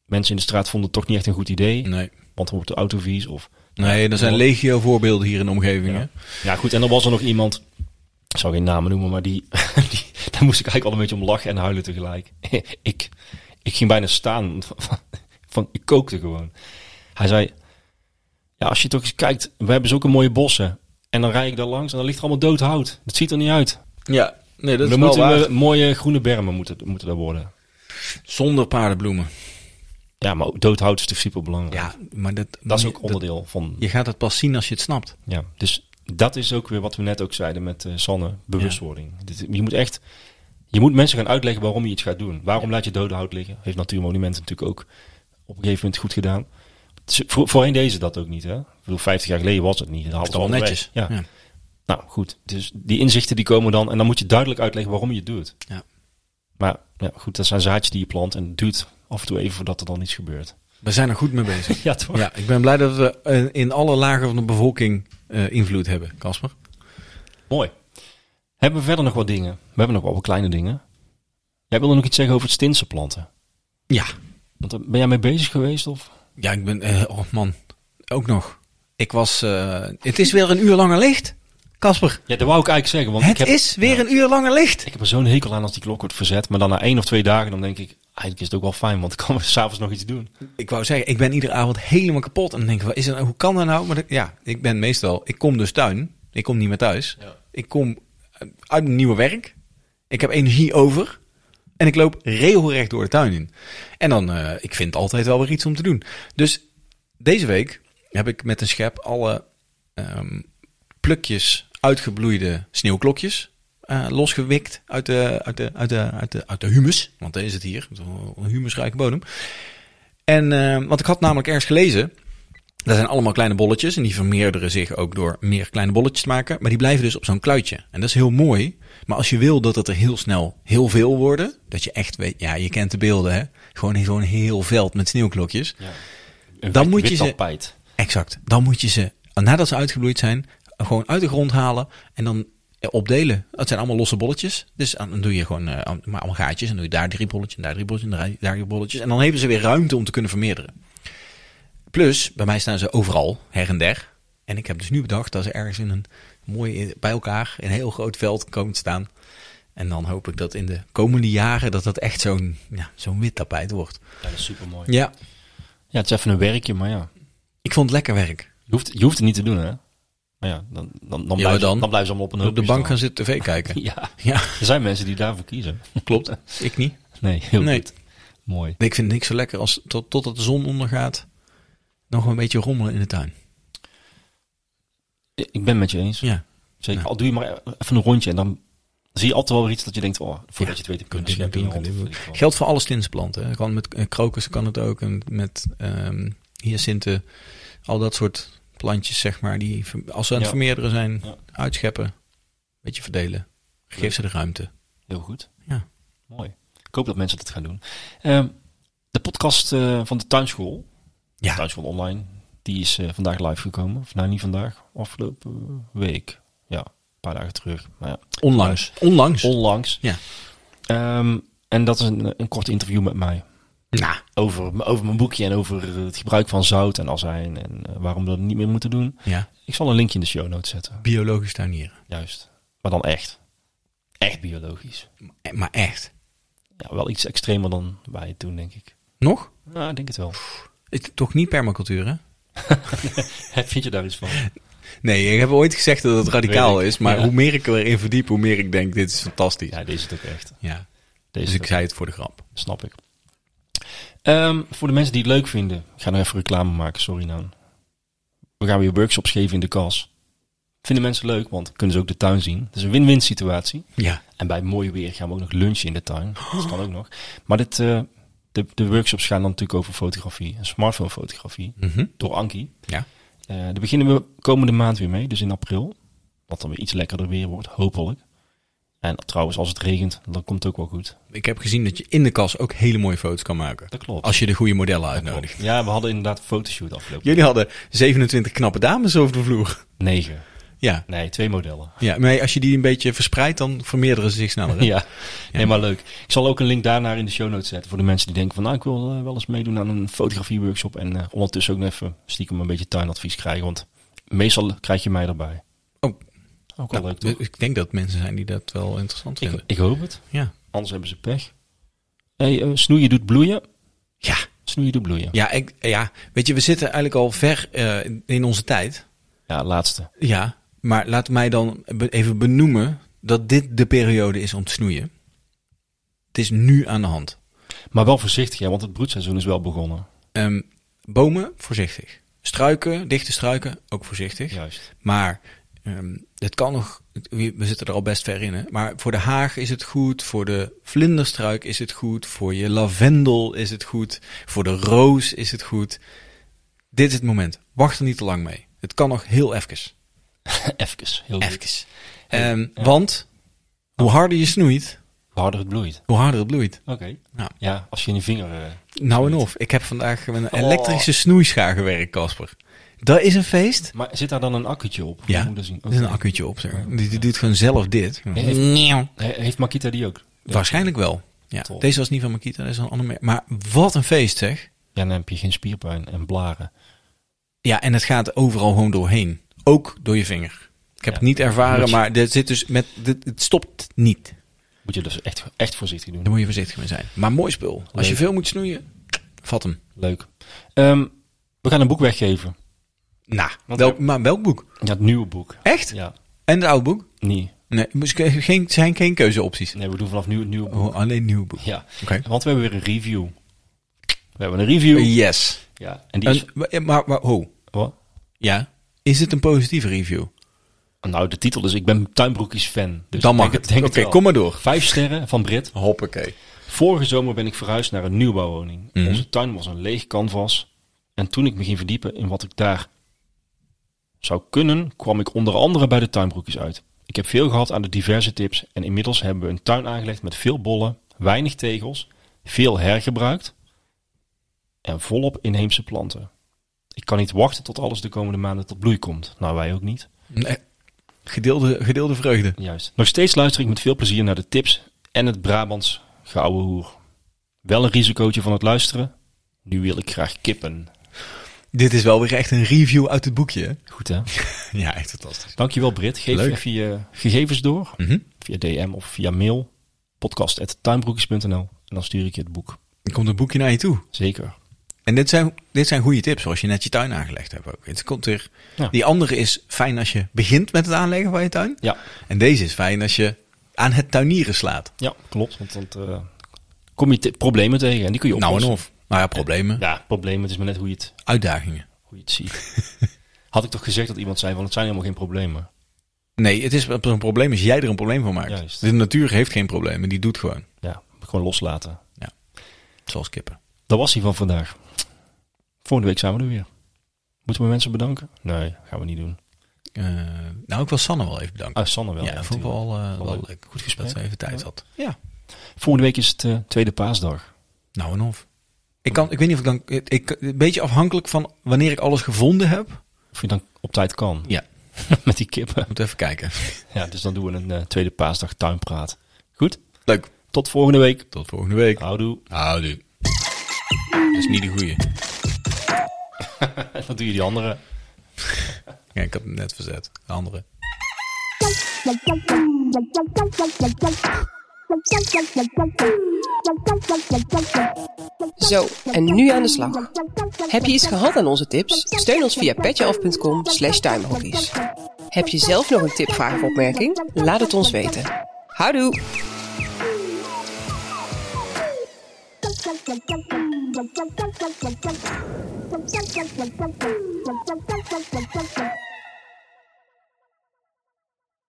mensen in de straat vonden het toch niet echt een goed idee.
Nee,
Want dan wordt de auto vies. Of,
nee er zijn legio voorbeelden hier in de omgeving. hè?
ja goed, en dan was er nog iemand, ik zal geen namen noemen, maar die, die daar moest ik eigenlijk al een beetje om lachen en huilen tegelijk. ik, ik ging bijna staan, van, van, ik kookte gewoon. Hij zei, ja, als je toch eens kijkt, we hebben zulke mooie bossen. En dan rijd ik daar langs en dan ligt er allemaal dood hout. Dat ziet er niet uit.
Ja, nee, dat is
Dan
wel
moeten
waar.
we mooie groene bermen moeten, moeten er worden.
Zonder paardenbloemen.
Ja, maar ook dood hout is natuurlijk super belangrijk.
Ja, maar dat,
dat is ook onderdeel van.
je gaat het pas zien als je het snapt.
Ja. Dus dat is ook weer wat we net ook zeiden met eh, Sanne, bewustwording. Dit- je moet echt, je moet mensen gaan uitleggen waarom je iets gaat doen. Waarom laat je dode hout liggen? Heeft Natuurmonumenten natuurlijk ook op een gegeven moment goed gedaan. Het is- Voor, voorheen deden ze dat ook niet, hè? Ik bedoel, 50 jaar geleden was het niet. Dan hadden
is toch
ze
wel
al
netjes.
weg. Ja.
Ja.
Nou, goed. Dus die inzichten die komen dan. En dan moet je duidelijk uitleggen waarom je het doet.
Ja.
Maar ja, goed, dat zijn zaadjes die je plant. En het duurt af en toe even voordat er dan iets gebeurt.
We zijn er goed mee bezig.
Ja, toch?
Ja, ik ben blij dat we eh, in alle lagen van de bevolking eh, invloed hebben, Casper.
Mooi. Hebben we verder nog wat dingen? We hebben nog wel wat kleine dingen. Jij wilde nog iets zeggen over het stinse planten.
Ja.
Want daar ben jij mee bezig geweest? Of?
Ja, ik ben... eh, oh man, ook nog. Ik was... eh, het is weer een uur langer licht, Casper.
Ja, dat wou ik eigenlijk zeggen. Want
Het
ik heb,
is weer een uur langer licht.
Ik heb er zo'n hekel aan als die klok wordt verzet. Maar dan na één of twee dagen, dan denk ik... Eigenlijk is het ook wel fijn, want ik kan s'avonds nog iets doen.
Ik wou zeggen, ik ben iedere avond helemaal kapot. En dan denk ik, wat is er nou, hoe kan dat nou? Maar dat- ja, ik ben meestal, ik kom dus tuin. Ik kom niet meer thuis. Ik kom eh, uit mijn nieuwe werk. Ik heb energie over. En ik loop regelrecht door de tuin in. En dan, eh, ik vind altijd wel weer iets om te doen. Dus deze week heb ik met een schep alle ehm, plukjes uitgebloeide sneeuwklokjes eh, losgewikt uit de, uit, de, uit, de, uit, de, uit de humus. Want daar is het hier, een humusrijke bodem. En, eh, want ik had namelijk ergens gelezen. Dat zijn allemaal kleine bolletjes. En die vermeerderen zich ook door meer kleine bolletjes te maken. Maar die blijven dus op zo'n kluitje. En dat is heel mooi. Maar als je wil dat het er heel snel heel veel worden. Dat je echt weet. Ja, je kent de beelden hè. Gewoon zo'n heel veld met sneeuwklokjes.
Een
Dan
wit-
moet je
wit
ze-
tapijt.
Exact. Dan moet je ze, nadat ze uitgebloeid zijn, gewoon uit de grond halen en dan opdelen. Het zijn allemaal losse bolletjes. Dus dan doe je gewoon eh, maar allemaal gaatjes. En doe je daar drie bolletjes, en daar drie bolletjes, en daar- daar drie bolletjes. En dan hebben ze weer ruimte om te kunnen vermeerderen. Plus, bij mij staan ze overal, her en der. En ik heb dus nu bedacht dat ze ergens in een mooi, eh, bij elkaar, in een heel groot veld komen te staan. En dan hoop ik dat in de komende jaren dat dat echt zo'n ja, zo'n wit tapijt wordt.
Ja, dat is supermooi.
Ja,
Ja, het is even een werkje, maar ja.
ik vond het lekker werk.
Je hoeft, je hoeft het niet te doen, hè? Maar ja, dan, dan, dan, blijven,
dan.
dan blijven ze allemaal op een hoop.
Op de bank gaan zitten tv kijken.
Ja,
Ja.
er zijn mensen die daarvoor kiezen.
Klopt. Ik niet.
Nee, heel
nee.
goed. Mooi.
Nee, Ik vind niks zo lekker als tot, totdat de zon ondergaat. Nog een beetje rommelen in de tuin.
Ik ben met je eens.
Ja.
Zeker.
Ja.
Al doe je maar even een rondje en dan zie je altijd wel weer iets dat je denkt, oh, voordat
Ja.
je het weet, dan kun je
Dit moet
het
doen, dit moet Geldt voor alle stinsplanten. hè. Kan met eh, krokussen kan het ook. En met ehm hyacinten. Al dat soort plantjes, zeg maar. Die, ver- als ze aan het
Ja.
vermeerderen zijn,
Ja.
uitscheppen. Een beetje verdelen. Geef ze de ruimte.
Heel goed.
Ja.
Mooi. Ik hoop dat mensen dat gaan doen. Ehm, de podcast eh, van de tuinschool,
Ja.
tuinschool online, die is eh, vandaag live gekomen. Of nou, niet vandaag, afgelopen week. Ja, een paar dagen terug. Maar ja,
Onlangs. Onlangs.
onlangs.
Ja.
Ehm, en dat is een, een kort interview met mij.
Nou,
Over, m- over mijn boekje en over het gebruik van zout en azijn en eh, waarom we dat niet meer moeten doen.
ja.
Ik zal een linkje in de show notes zetten.
Biologisch tuinieren.
Juist. Maar dan echt. Echt biologisch.
Eh, Maar echt.
Ja, wel iets extremer dan wij het doen, denk ik.
Nog?
Nou, ik denk het wel.
Ik, toch niet permacultuur, hè?
Vind je daar iets van?
Nee, ik heb ooit gezegd dat het radicaal
Weet ik.
is. Maar
Ja.
hoe meer ik erin verdiep, hoe meer ik denk, dit is fantastisch.
Ja, deze is het ook echt.
Ja,
Deze
dus
is
ik
het
zei het voor de grap.
ook, snap ik. Ehm, voor de mensen die het leuk vinden. Ik ga nog even reclame maken, sorry nou. We gaan weer workshops geven in de kas. Vinden mensen leuk, want kunnen ze ook de tuin zien. Het is een win-win situatie.
Ja.
En bij mooi weer gaan we ook nog lunchen in de tuin. Dat kan ook nog. Maar dit, eh, de, de workshops gaan dan natuurlijk over fotografie. En smartphone fotografie.
Mhm.
Door Anki.
Ja.
Eh, daar beginnen we komende maand weer mee. Dus in april. Wat dan weer iets lekkerder weer wordt. Hopelijk. En trouwens, als het regent, dan komt het ook wel goed.
Ik heb gezien dat je in de kas ook hele mooie foto's kan maken.
Dat klopt.
Als je de goede modellen uitnodigt.
Ja, we hadden inderdaad een fotoshoot afgelopen.
Jullie hadden 27 knappe dames over de vloer.
Negen.
Ja.
Nee, twee modellen.
Ja, maar als je die een beetje verspreidt, dan vermeerderen ze zich sneller. hè?
Ja, helemaal leuk. Ik zal ook een link daarnaar in de show notes zetten voor de mensen die denken van nou, ik wil eh, wel eens meedoen aan een fotografieworkshop en eh, ondertussen ook nog even stiekem een beetje tuinadvies krijgen, want meestal krijg je mij erbij.
Oh,
Ook wel
nou,
leuk toch?
ik denk dat mensen zijn die dat wel interessant
Ik,
vinden.
ik hoop het.
Ja.
Anders hebben ze pech. Hey, eh, snoeien doet bloeien.
Ja.
Snoeien doet bloeien. Ja,
Ja, ik, ja, weet je, we zitten eigenlijk al ver eh, in onze tijd.
laatste.
Ja, maar laat mij dan be- even benoemen dat dit de periode is om te snoeien. Het is nu aan de hand.
Maar wel voorzichtig, hè, want het broedseizoen is wel begonnen.
Ehm, bomen, voorzichtig. Struiken, dichte struiken, ook voorzichtig.
Juist.
Maar Ehm, het kan nog, we we zitten er al best ver in, hè? maar voor de haag is het goed, voor de vlinderstruik is het goed, voor je lavendel is het goed, voor de roos is het goed. Dit is het moment. Wacht er niet te lang mee. Het kan nog heel even.
Even, heel goed.
Even. Ehm, Want
Oh.
hoe harder je snoeit,
Hoe harder het bloeit.
hoe harder het bloeit.
Oké.
Nou.
Ja, als je in je vinger... eh,
Nou en of, ik heb vandaag met een
Oh.
elektrische snoeischaar gewerkt, Casper. Dat is een feest.
maar zit daar dan een accu'tje op? Hoe
Ja,
moet ik dat zien?
er is een
Oké.
accu'tje op. Zeg. maar. Die, die doet gewoon zelf dit.
He- Heeft Makita die ook?
Waarschijnlijk wel. Ja,
Top.
deze was niet van Makita, deze is een ander merk. Maar wat een feest zeg.
Ja, dan heb je geen spierpijn en blaren.
Ja, en het gaat overal gewoon doorheen. Ook door je vinger. Ik heb
Ja.
het niet ervaren,
Moet je-
maar dit zit dus met, dit, het stopt niet.
Moet je dus echt, echt voorzichtig doen.
Daar moet je voorzichtig mee zijn. Maar mooi spul. Als je
Leuk.
veel moet snoeien, vat hem.
Leuk. Ehm, we gaan een boek weggeven.
Nou,
Want-
welk, maar welk boek?
Ja, het nieuwe boek.
Echt?
Ja,
En het oude boek?
nee.
Nee, moest ik- geen, zijn geen keuzeopties.
Nee, we doen vanaf nu het nieuwe boek.
Oh, alleen nieuw boek.
Ja,
Oké.
want we hebben weer een review. We hebben een review.
Yes.
Ja, en die is...
En, maar, maar, maar hoe?
Wat?
Ja. Is het een positieve review?
Nou, de titel is Ik ben Tuinbroekjes fan. Dus
Dan
ik
mag
denk
het.
denk
Oké,
wel.
kom maar door.
Vijf sterren van Brit.
Hoppakee.
Vorige zomer ben ik verhuisd naar een nieuwbouwwoning.
Mhm.
Onze tuin was een leeg canvas. En toen ik me ging verdiepen in wat ik daar zou kunnen, kwam ik onder andere bij de tuinbroekjes uit. Ik heb veel gehad aan de diverse tips en inmiddels hebben we een tuin aangelegd met veel bollen, weinig tegels, veel hergebruikt en volop inheemse planten. Ik kan niet wachten tot alles de komende maanden tot bloei komt. Nou, wij ook niet.
Nee. Gedeelde, gedeelde vreugde.
Juist. Nog steeds luister ik met veel plezier naar de tips en het Brabants gouden hoer. Wel een risicootje van het luisteren. Nu wil ik graag kippen.
Dit is wel weer echt een review uit het boekje. hè?
Goed hè?
Ja, echt fantastisch.
Dankjewel Brit. Geef
Leuk.
even je gegevens door.
Mhm.
Via DM of via mail. podcast.tuinbroekjes.nl En dan stuur ik je het boek.
Dan komt een boekje naar je toe.
Zeker.
En dit zijn, dit zijn goede tips, zoals je net je tuin aangelegd hebt ook. Het komt weer,
Ja.
Die andere is fijn als je begint met het aanleggen van je tuin.
Ja,
En deze is fijn als je aan het tuinieren slaat.
ja klopt. Want dan eh, kom je te- problemen tegen en die kun je
Nou
oplossen.
en of. Nou ja, problemen,
Ja, problemen. Het is maar net hoe je het,
uitdagingen.
hoe je het ziet. Had ik toch gezegd dat iemand zei, want het zijn helemaal geen problemen.
Nee, het is een probleem als jij er een probleem van maakt.
Juist.
De natuur heeft geen problemen, die doet gewoon.
Ja, gewoon loslaten.
Zoals kippen.
Dat was hij van vandaag. Volgende week zijn we er weer. Moeten we mensen bedanken? Nee, gaan we niet doen.
Eh, nou, ik wil Sanne wel even bedanken.
Ah, Sanne wel.
ja,
ja,
vond ik
natuurlijk.
wel, eh, wel
leuk.
leuk.
Goed gesprek.
Dat ze even tijd had. Ja.
Volgende week is het eh, tweede paasdag.
Nou en of. Ik, kan, ik weet niet of ik dan... Ik, ik- een beetje afhankelijk van wanneer ik alles gevonden heb.
Of je dan op tijd kan.
Ja.
Met die kippen.
Moet even kijken.
Ja, dus dan doen we een eh, tweede paasdag tuinpraat. Goed,
Leuk.
tot volgende week.
Tot volgende week.
Ah. Houdoe.
Houdoe. Dat is niet de goeie.
En dan doe je die andere.
Ja, ik had hem net verzet. De andere.
Zo, en nu aan de slag. Heb je iets gehad aan onze tips? Steun ons via petjeaf.com slash tuinbroekjes. Heb je zelf nog een tip, vraag of opmerking? Laat het ons weten. Houdoe!
gehad?